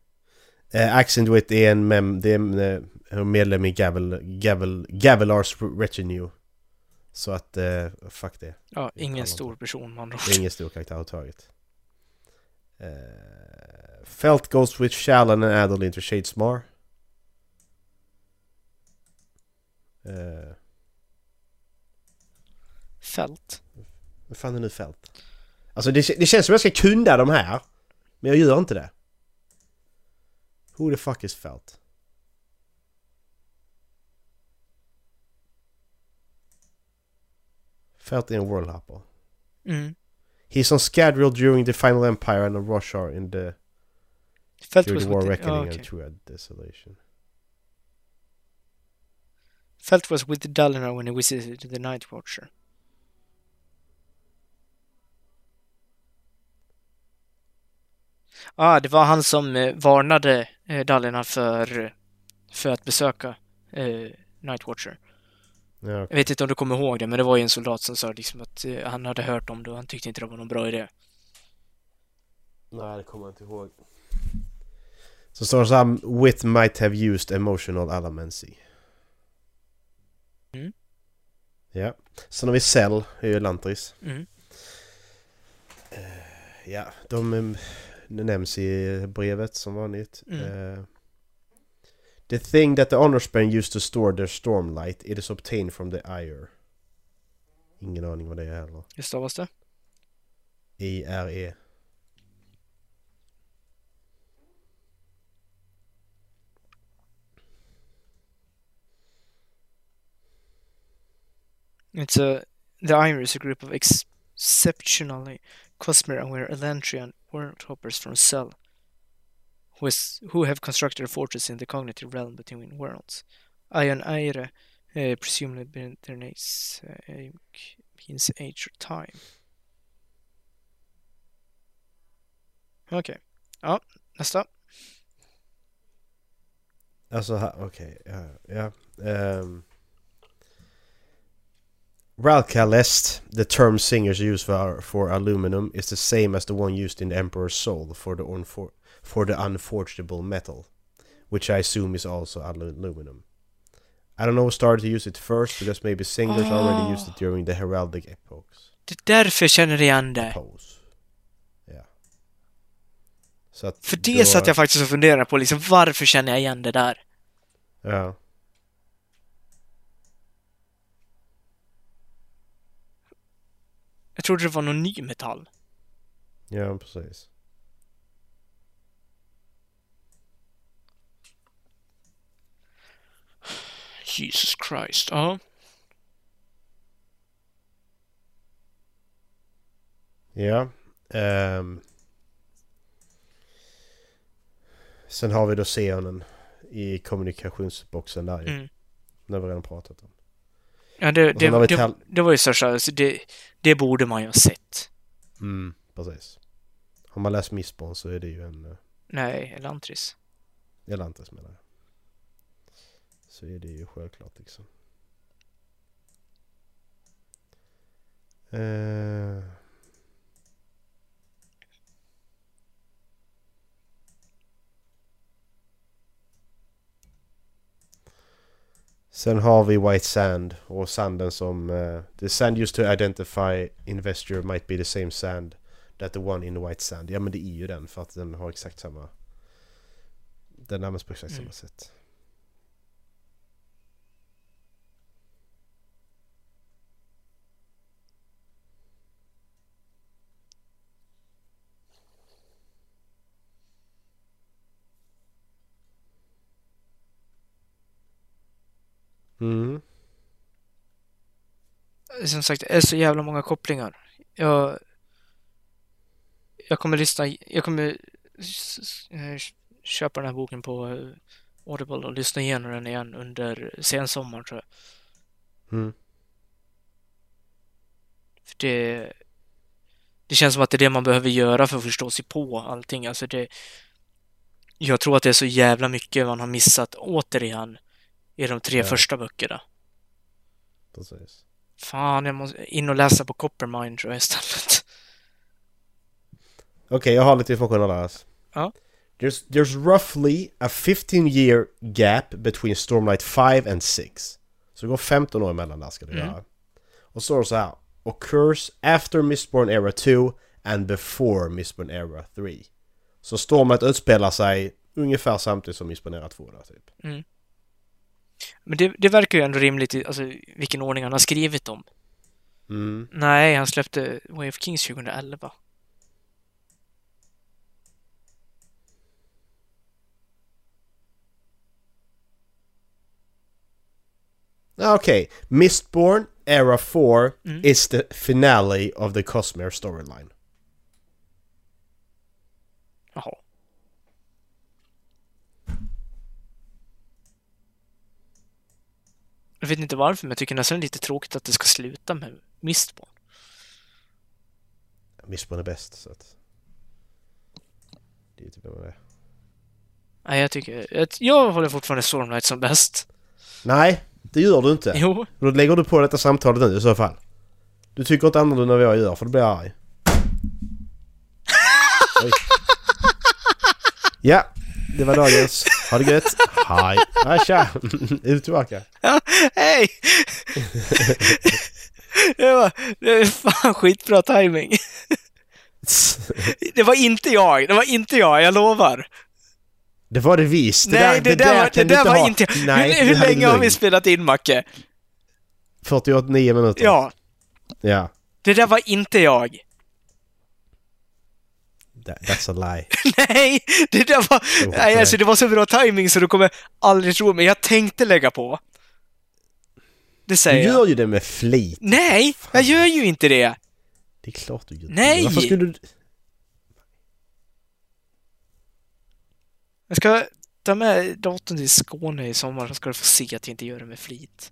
Speaker 2: Eh, Axin Duit är en mem, det är en, eh, en medlem i Gavel, Gavel, Gavelars Retinue. Så att, eh, fuck det.
Speaker 1: Ja, ingen
Speaker 2: Pallantor.
Speaker 1: stor person man
Speaker 2: Det är ingen stor karaktär överhuvudtaget. Uh, Felt goes with Shallon and Adolin to Shadesmar. Eh,
Speaker 1: Fält.
Speaker 2: Vad fan är nu fält? Alltså det, det känns som jag ska kunna de här. Men jag gör inte det. Who the fuck is fält? Fält är en world hopper.
Speaker 1: Mm.
Speaker 2: He's on schedule during the final empire and on Roshar in the
Speaker 1: Fält
Speaker 2: during
Speaker 1: was
Speaker 2: the war
Speaker 1: with the,
Speaker 2: reckoning
Speaker 1: ja,
Speaker 2: and
Speaker 1: okej.
Speaker 2: true desolation.
Speaker 1: Felt was with Dalinar when he visited the Night Watcher. ah, det var han som eh, varnade eh, Dallerna för, för att besöka eh, Nightwatcher.
Speaker 2: Ja,
Speaker 1: Jag vet inte om du kommer ihåg det, men det var ju en soldat som sa liksom att eh, han hade hört om det och han tyckte inte det var någon bra idé.
Speaker 2: Nej, det kommer jag inte ihåg. Så står det så här, Wit might have used emotional alamancy.
Speaker 1: Mm.
Speaker 2: Ja. Sen har vi Cell, det är ju Lantris.
Speaker 1: Mm.
Speaker 2: Ja, de eh, nämns i brevet som vanligt.
Speaker 1: Mm.
Speaker 2: Eh, the thing that the honorspan used to store their stormlight, it is obtained from the ire. Ingen aning vad det är heller. E.
Speaker 1: Hur stavas det?
Speaker 2: I-R-E.
Speaker 1: It's a, the Iron is a group of exceptionally Cosmere-aware Elantrian worldhoppers from Cell, who, is, who have constructed a fortress in the cognitive realm between worlds. Ion Aire, uh, presumably been their names, uh, means age or time. Okej. Ja, nästa.
Speaker 2: Alltså, ha- okej. ja, ja. Um, Ralkalest, the term singers use for, for aluminum, is the same as the one used in the Emperor's Soul for the, unfor- for the unforgeable metal, which I assume is also alu- aluminum. I don't know who started to use it first, because maybe singers already used
Speaker 1: Ah.
Speaker 2: it during the heraldic epochs.
Speaker 1: Det är därför jag känner igen det.
Speaker 2: Pose. Ja. Så att
Speaker 1: För
Speaker 2: då-
Speaker 1: det satt jag faktiskt och funderade på, liksom varför känner jag igen det där?
Speaker 2: Ja.
Speaker 1: Jag trodde det var någon ny metall.
Speaker 2: Ja, precis.
Speaker 1: Jesus Christ, ja.
Speaker 2: Ja. ehm. sen har vi då Seonen i kommunikationsboxen där ju.
Speaker 1: Mm.
Speaker 2: Det har vi redan pratat om.
Speaker 1: Ja, det,
Speaker 2: Och sen har
Speaker 1: det,
Speaker 2: vi
Speaker 1: det,
Speaker 2: tal-
Speaker 1: det var ju största, alltså det, det borde man ju ha sett.
Speaker 2: Mm, precis. Har man läst Missborn så är det ju en... eh,
Speaker 1: Nej, Elantris.
Speaker 2: Elantis menar jag. Så är det ju självklart liksom. Eh. Sen har vi White Sand och sanden som... eh, the sand used to identify investor might be the same sand that the one in White Sand. Ja men det är ju den för att den har exakt samma... Den används på exakt samma
Speaker 1: Mm.
Speaker 2: sätt. Mm.
Speaker 1: Som sagt, det är så jävla många kopplingar. Jag... Jag kommer lyssna, jag kommer s- s- eh, köpa den här boken på eh, Audible och lyssna igenom den igen under sensommaren tror jag.
Speaker 2: Mm.
Speaker 1: För det, det känns som att det är det man behöver göra för att förstå sig på allting. Alltså det, jag tror att det är så jävla mycket man har missat återigen i de tre
Speaker 2: Ja.
Speaker 1: första böckerna.
Speaker 2: Precis.
Speaker 1: Fan, jag måste in och läsa på Coppermine tror jag istället.
Speaker 2: Okej, jag har lite information alla alltså.
Speaker 1: Ja.
Speaker 2: There's, there's roughly a 15 year gap between Stormlight 5 and 6. Så det går 15 år emellan där ska det
Speaker 1: Mm.
Speaker 2: göra. Och så står det så här. Occurs after Mistborn Era 2 and before Mistborn Era 3. Så Stormlight utspelar sig ungefär samtidigt som Mistborn Era 2 där typ.
Speaker 1: Men det, det verkar ju ändå rimligt i alltså, vilken ordning han har skrivit dem.
Speaker 2: Mm.
Speaker 1: Nej, han släppte Way of Kings 2011.
Speaker 2: Ah, Okej, Mistborn Era 4
Speaker 1: Mm.
Speaker 2: is the finale of the Cosmere storyline.
Speaker 1: Jaha. Jag vet inte varför, men jag tycker nästan det är lite tråkigt att det ska sluta med Mistborn.
Speaker 2: Mistborn är bäst så att... Det inte vem han är.
Speaker 1: Nej, jag tycker... Jag, jag håller fortfarande Stormlight som bäst.
Speaker 2: Nej, det gör du inte.
Speaker 1: Jo.
Speaker 2: Då lägger du på detta samtalet nu i så fall. Du tycker inte annorlunda än vad jag gör för då blir jag arg. Oj. Ja, det var dagens. Ha det gött. Hej. Nej, tja. Är du tillbaka?
Speaker 1: Hej! det, var, det var fan skitbra timing. Det var inte jag, det var inte jag, jag lovar.
Speaker 2: Det var det visst. Det
Speaker 1: Nej,
Speaker 2: där, det där,
Speaker 1: var, det
Speaker 2: kan du
Speaker 1: där
Speaker 2: inte
Speaker 1: var
Speaker 2: ha.
Speaker 1: inte jag.
Speaker 2: Nej,
Speaker 1: hur
Speaker 2: det
Speaker 1: hur
Speaker 2: hade
Speaker 1: länge
Speaker 2: du
Speaker 1: har vi
Speaker 2: lögn.
Speaker 1: spelat in, Macke?
Speaker 2: 48-9 minuter.
Speaker 1: Ja,
Speaker 2: ja.
Speaker 1: det där var inte jag.
Speaker 2: That, that's a lie.
Speaker 1: Nej, det där var...
Speaker 2: Jo,
Speaker 1: Nej, alltså det var så bra timing så du kommer aldrig tro mig. Jag tänkte lägga på. Det
Speaker 2: Du
Speaker 1: säger jag.
Speaker 2: gör ju det med flit.
Speaker 1: Nej, jag gör ju inte det.
Speaker 2: Det är klart du gör det.
Speaker 1: Nej!
Speaker 2: Varför skulle du...
Speaker 1: Jag ska ta med datorn till Skåne i sommar så ska du få se att jag inte gör det med flit.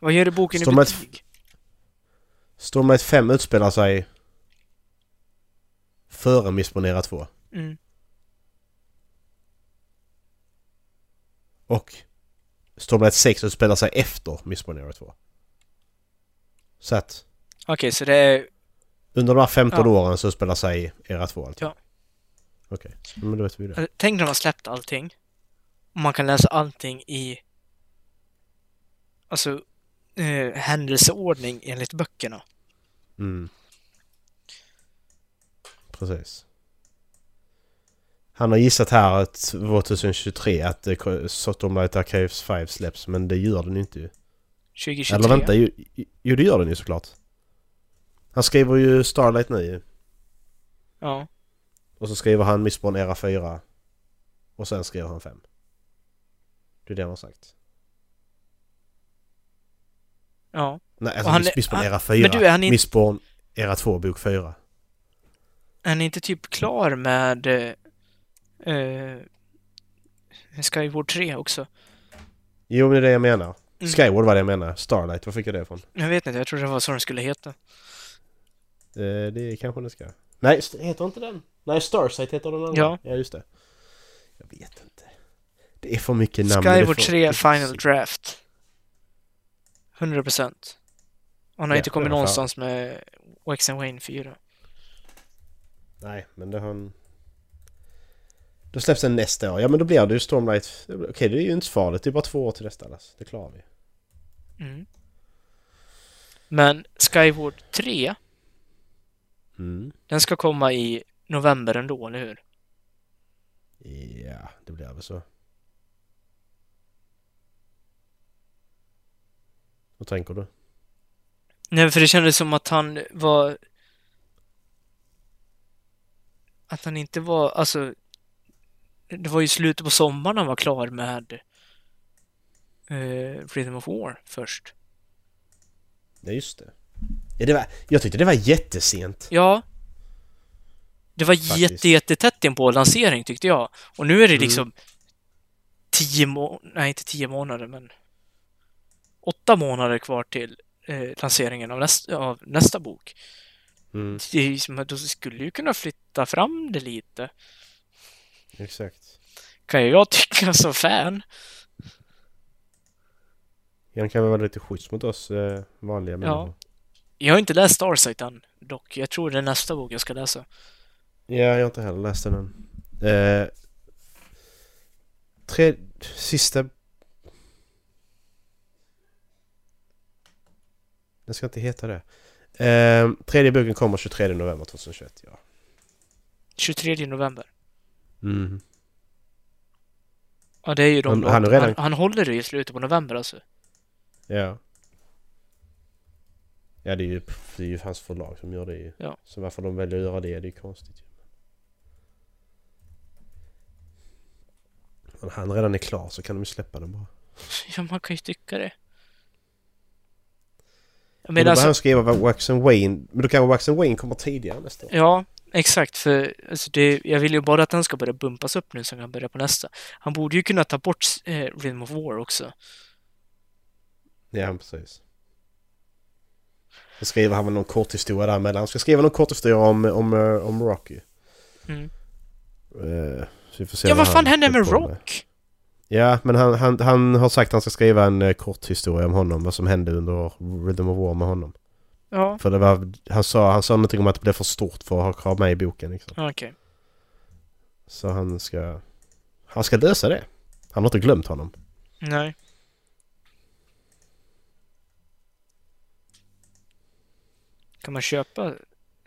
Speaker 1: Vad gör du boken i
Speaker 2: Står med ett-
Speaker 1: betyg?
Speaker 2: Storm 5 utspelar sig alltså, före Missponera 2.
Speaker 1: Mm.
Speaker 2: Och Stormlight 6 utspelar sig alltså, efter Missponera 2. Så att
Speaker 1: Okej, så det är...
Speaker 2: under de här 15
Speaker 1: Ja.
Speaker 2: åren så utspelar sig era två alltid.
Speaker 1: Ja.
Speaker 2: Okej, men då vet vi det.
Speaker 1: Tänk när de har släppt allting. Och man kan läsa allting i... Alltså, eh, händelseordning enligt böckerna.
Speaker 2: Mm. Precis. Han har gissat här att 2023 att eh, Ko- Stormlight Archives 5 släpps men det gör den ju inte ju.
Speaker 1: 2023.
Speaker 2: Eller vänta, ju, ju- jo det gör den ju såklart. Han skriver ju Starlight nu ju.
Speaker 1: Ja.
Speaker 2: Och så skriver han Missborn Era 4. Och sen skriver han 5. Det är det han har sagt.
Speaker 1: Ja.
Speaker 2: Nej, alltså
Speaker 1: Och han
Speaker 2: Miss-
Speaker 1: är-
Speaker 2: Missborn
Speaker 1: han-
Speaker 2: Era 4.
Speaker 1: du, är han inte-
Speaker 2: Missborn Era 2, bok 4.
Speaker 1: Han är inte typ klar med eh, eh, Skyward 3 också?
Speaker 2: Jo, men det är det jag menar.
Speaker 1: Mm.
Speaker 2: Skyward var det jag menar. Starlight, var fick jag det ifrån?
Speaker 1: Jag vet inte, jag tror det var så den skulle heta.
Speaker 2: Eh, det är kanske den ska. Nej, st- heter inte den? Nej, Starsight heter den andra.
Speaker 1: Ja.
Speaker 2: ja, just det. Jag vet inte. Det är för mycket namn. det är
Speaker 1: Skyward
Speaker 2: för-
Speaker 1: 3 Final Draft. 100%. Han har
Speaker 2: Ja,
Speaker 1: inte kommit
Speaker 2: i alla fall.
Speaker 1: någonstans med Wax and Wayne 4.
Speaker 2: Nej, men det har han... Då släpps den nästa år. Ja, men då blir det ju Stormlight. Okej, det är ju inte så farligt. Det är bara två år till nästa alltså. Det klarar vi.
Speaker 1: Mm. Men Skyward 3,
Speaker 2: Mm.
Speaker 1: den ska komma i november ändå, eller hur?
Speaker 2: Ja, det blir väl så. Vad tänker du?
Speaker 1: Nej, för det kändes som att han var... Att han inte var, alltså... Det var ju slutet på sommaren han var klar med eh, Freedom of War först.
Speaker 2: Ja, just det. Ja, det var... Jag tyckte det var jättesent.
Speaker 1: Ja. Det var
Speaker 2: Faktiskt.
Speaker 1: jätte, jättetätt in på lansering tyckte jag. Och nu är det liksom tio månader, nej inte tio månader men åtta månader kvar till eh, lanseringen av, näst, av nästa bok.
Speaker 2: Mm,
Speaker 1: Det är ju som att de skulle ju kunna flytta fram det lite.
Speaker 2: exakt.
Speaker 1: Kan ju jag tycka som fan.
Speaker 2: Han kan väl vara lite schysst mot oss eh, vanliga människor.
Speaker 1: Jag har inte läst Starsight än dock. Jag tror det är nästa bok jag ska läsa.
Speaker 2: Ja, jag har inte heller läst den än. Eh, tre... Sista... Den ska inte heta det. Eh, tredje boken kommer 23 november 2021, ja.
Speaker 1: 23 november.
Speaker 2: Mm.
Speaker 1: Ja, det är ju de...
Speaker 2: Men han har redan-
Speaker 1: han, han håller det i slutet på november alltså.
Speaker 2: Ja. Ja, det är, ju, det är ju hans förlag som gör det ju.
Speaker 1: Ja.
Speaker 2: Så varför de väljer att göra det, det är ju konstigt ju. Men han redan är klar så kan de ju släppa den bara.
Speaker 1: Ja, man kan ju tycka det. Jag
Speaker 2: Men
Speaker 1: menar
Speaker 2: då behöver
Speaker 1: alltså,
Speaker 2: han skriva vad Wax and Wayne... Men då kanske Wax and Wayne kommer tidigare nästa år.
Speaker 1: ja, exakt. För alltså det, jag vill ju bara att den ska börja bumpas upp nu så han kan börja på nästa. Han borde ju kunna ta bort eh, Rhythm of War också.
Speaker 2: Ja, precis. Då skriver han väl någon kort historia där mellan. Han ska skriva någon kort historia om, om, eh, om Rocky.
Speaker 1: Mm.
Speaker 2: Eh, så vi får se
Speaker 1: Ja, vad
Speaker 2: han
Speaker 1: fan hände med
Speaker 2: håller på
Speaker 1: Rock?
Speaker 2: Ja, men han, han, han har sagt att han ska skriva en eh, kort historia om honom. Vad som hände under Rhythm of War med honom.
Speaker 1: Ja,
Speaker 2: För det var, han sa, han sa någonting om att det blev för stort för att ha med i boken liksom.
Speaker 1: okej.
Speaker 2: Så han ska... Han ska lösa det. Han har inte glömt honom.
Speaker 1: Nej. Kan man köpa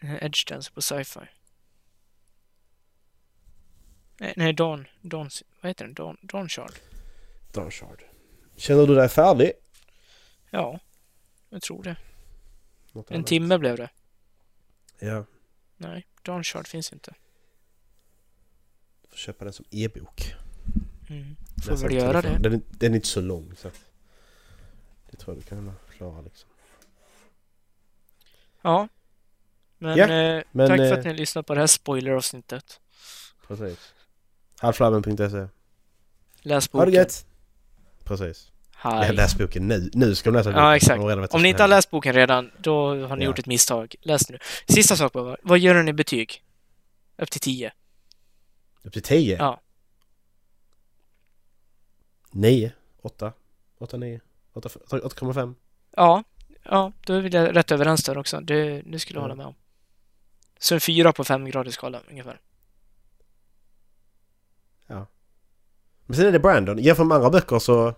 Speaker 1: Edge Dance på sci-fi? Nej, nej Don, Don, vad heter den? Don, Don Shard?
Speaker 2: Don Shard. Känner du dig färdig?
Speaker 1: Ja, jag tror det.
Speaker 2: Något
Speaker 1: En
Speaker 2: annat?
Speaker 1: timme blev det.
Speaker 2: Ja.
Speaker 1: Nej, Don Shard finns inte.
Speaker 2: Får köpa den som e-bok.
Speaker 1: Mm.
Speaker 2: Läsa
Speaker 1: Får väl
Speaker 2: på
Speaker 1: göra det.
Speaker 2: telefon. Den, är- den är inte så lång så att... Det tror jag du kan klara liksom.
Speaker 1: Ja. Men,
Speaker 2: Ja,
Speaker 1: eh,
Speaker 2: men,
Speaker 1: tack för
Speaker 2: eh,
Speaker 1: att ni lyssnade på det här spoileravsnittet.
Speaker 2: Precis. Halflabben.se.
Speaker 1: Läs
Speaker 2: E. Ha det
Speaker 1: boken.
Speaker 2: gött! Precis.
Speaker 1: Hej.
Speaker 2: Ja, läs boken nu. Nu ska du läsa boken.
Speaker 1: Ja, exakt.
Speaker 2: De har redan vet vad
Speaker 1: Om ni
Speaker 2: som
Speaker 1: inte har
Speaker 2: händer.
Speaker 1: läst boken redan, då har ni
Speaker 2: Ja.
Speaker 1: gjort ett misstag. Läs nu. Sista sak bara. Vad gör den i betyg? Upp till 10?
Speaker 2: Upp till 10?
Speaker 1: Ja.
Speaker 2: 9? 8? 8, 9? 8,5?
Speaker 1: Ja. Ja, då är vi där- rätt överens där också. Det, det skulle jag
Speaker 2: Ja.
Speaker 1: hålla med om. Så en 4 på 5-gradig skala ungefär.
Speaker 2: Men sen är det Brandon. Jämfört med andra böcker så...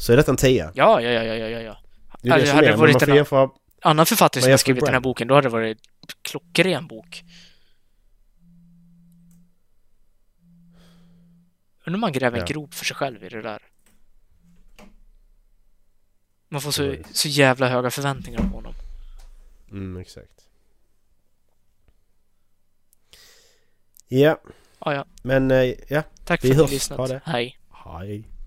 Speaker 2: Så är detta en 10.
Speaker 1: Ja, ja, ja, ja, ja, ja, ja.
Speaker 2: Det är
Speaker 1: Alltså,
Speaker 2: det som
Speaker 1: hade det
Speaker 2: är. Men
Speaker 1: varit
Speaker 2: man får
Speaker 1: en-
Speaker 2: jämföra...
Speaker 1: Annan författare
Speaker 2: Vad
Speaker 1: som
Speaker 2: är
Speaker 1: har
Speaker 2: för
Speaker 1: skrivit den här
Speaker 2: brand?
Speaker 1: boken, då hade det varit en klockren bok. Undrar om man gräver en
Speaker 2: Ja.
Speaker 1: grop för sig själv i det där. Man får
Speaker 2: Det
Speaker 1: så,
Speaker 2: var det.
Speaker 1: så jävla höga förväntningar på honom.
Speaker 2: Mm, exakt. Ja,
Speaker 1: Ja, ja.
Speaker 2: men eh, ja.
Speaker 1: Tack
Speaker 2: Vi
Speaker 1: för att ni
Speaker 2: hörs.
Speaker 1: lyssnat.
Speaker 2: Ha det.
Speaker 1: Hej.
Speaker 2: eh, Hej.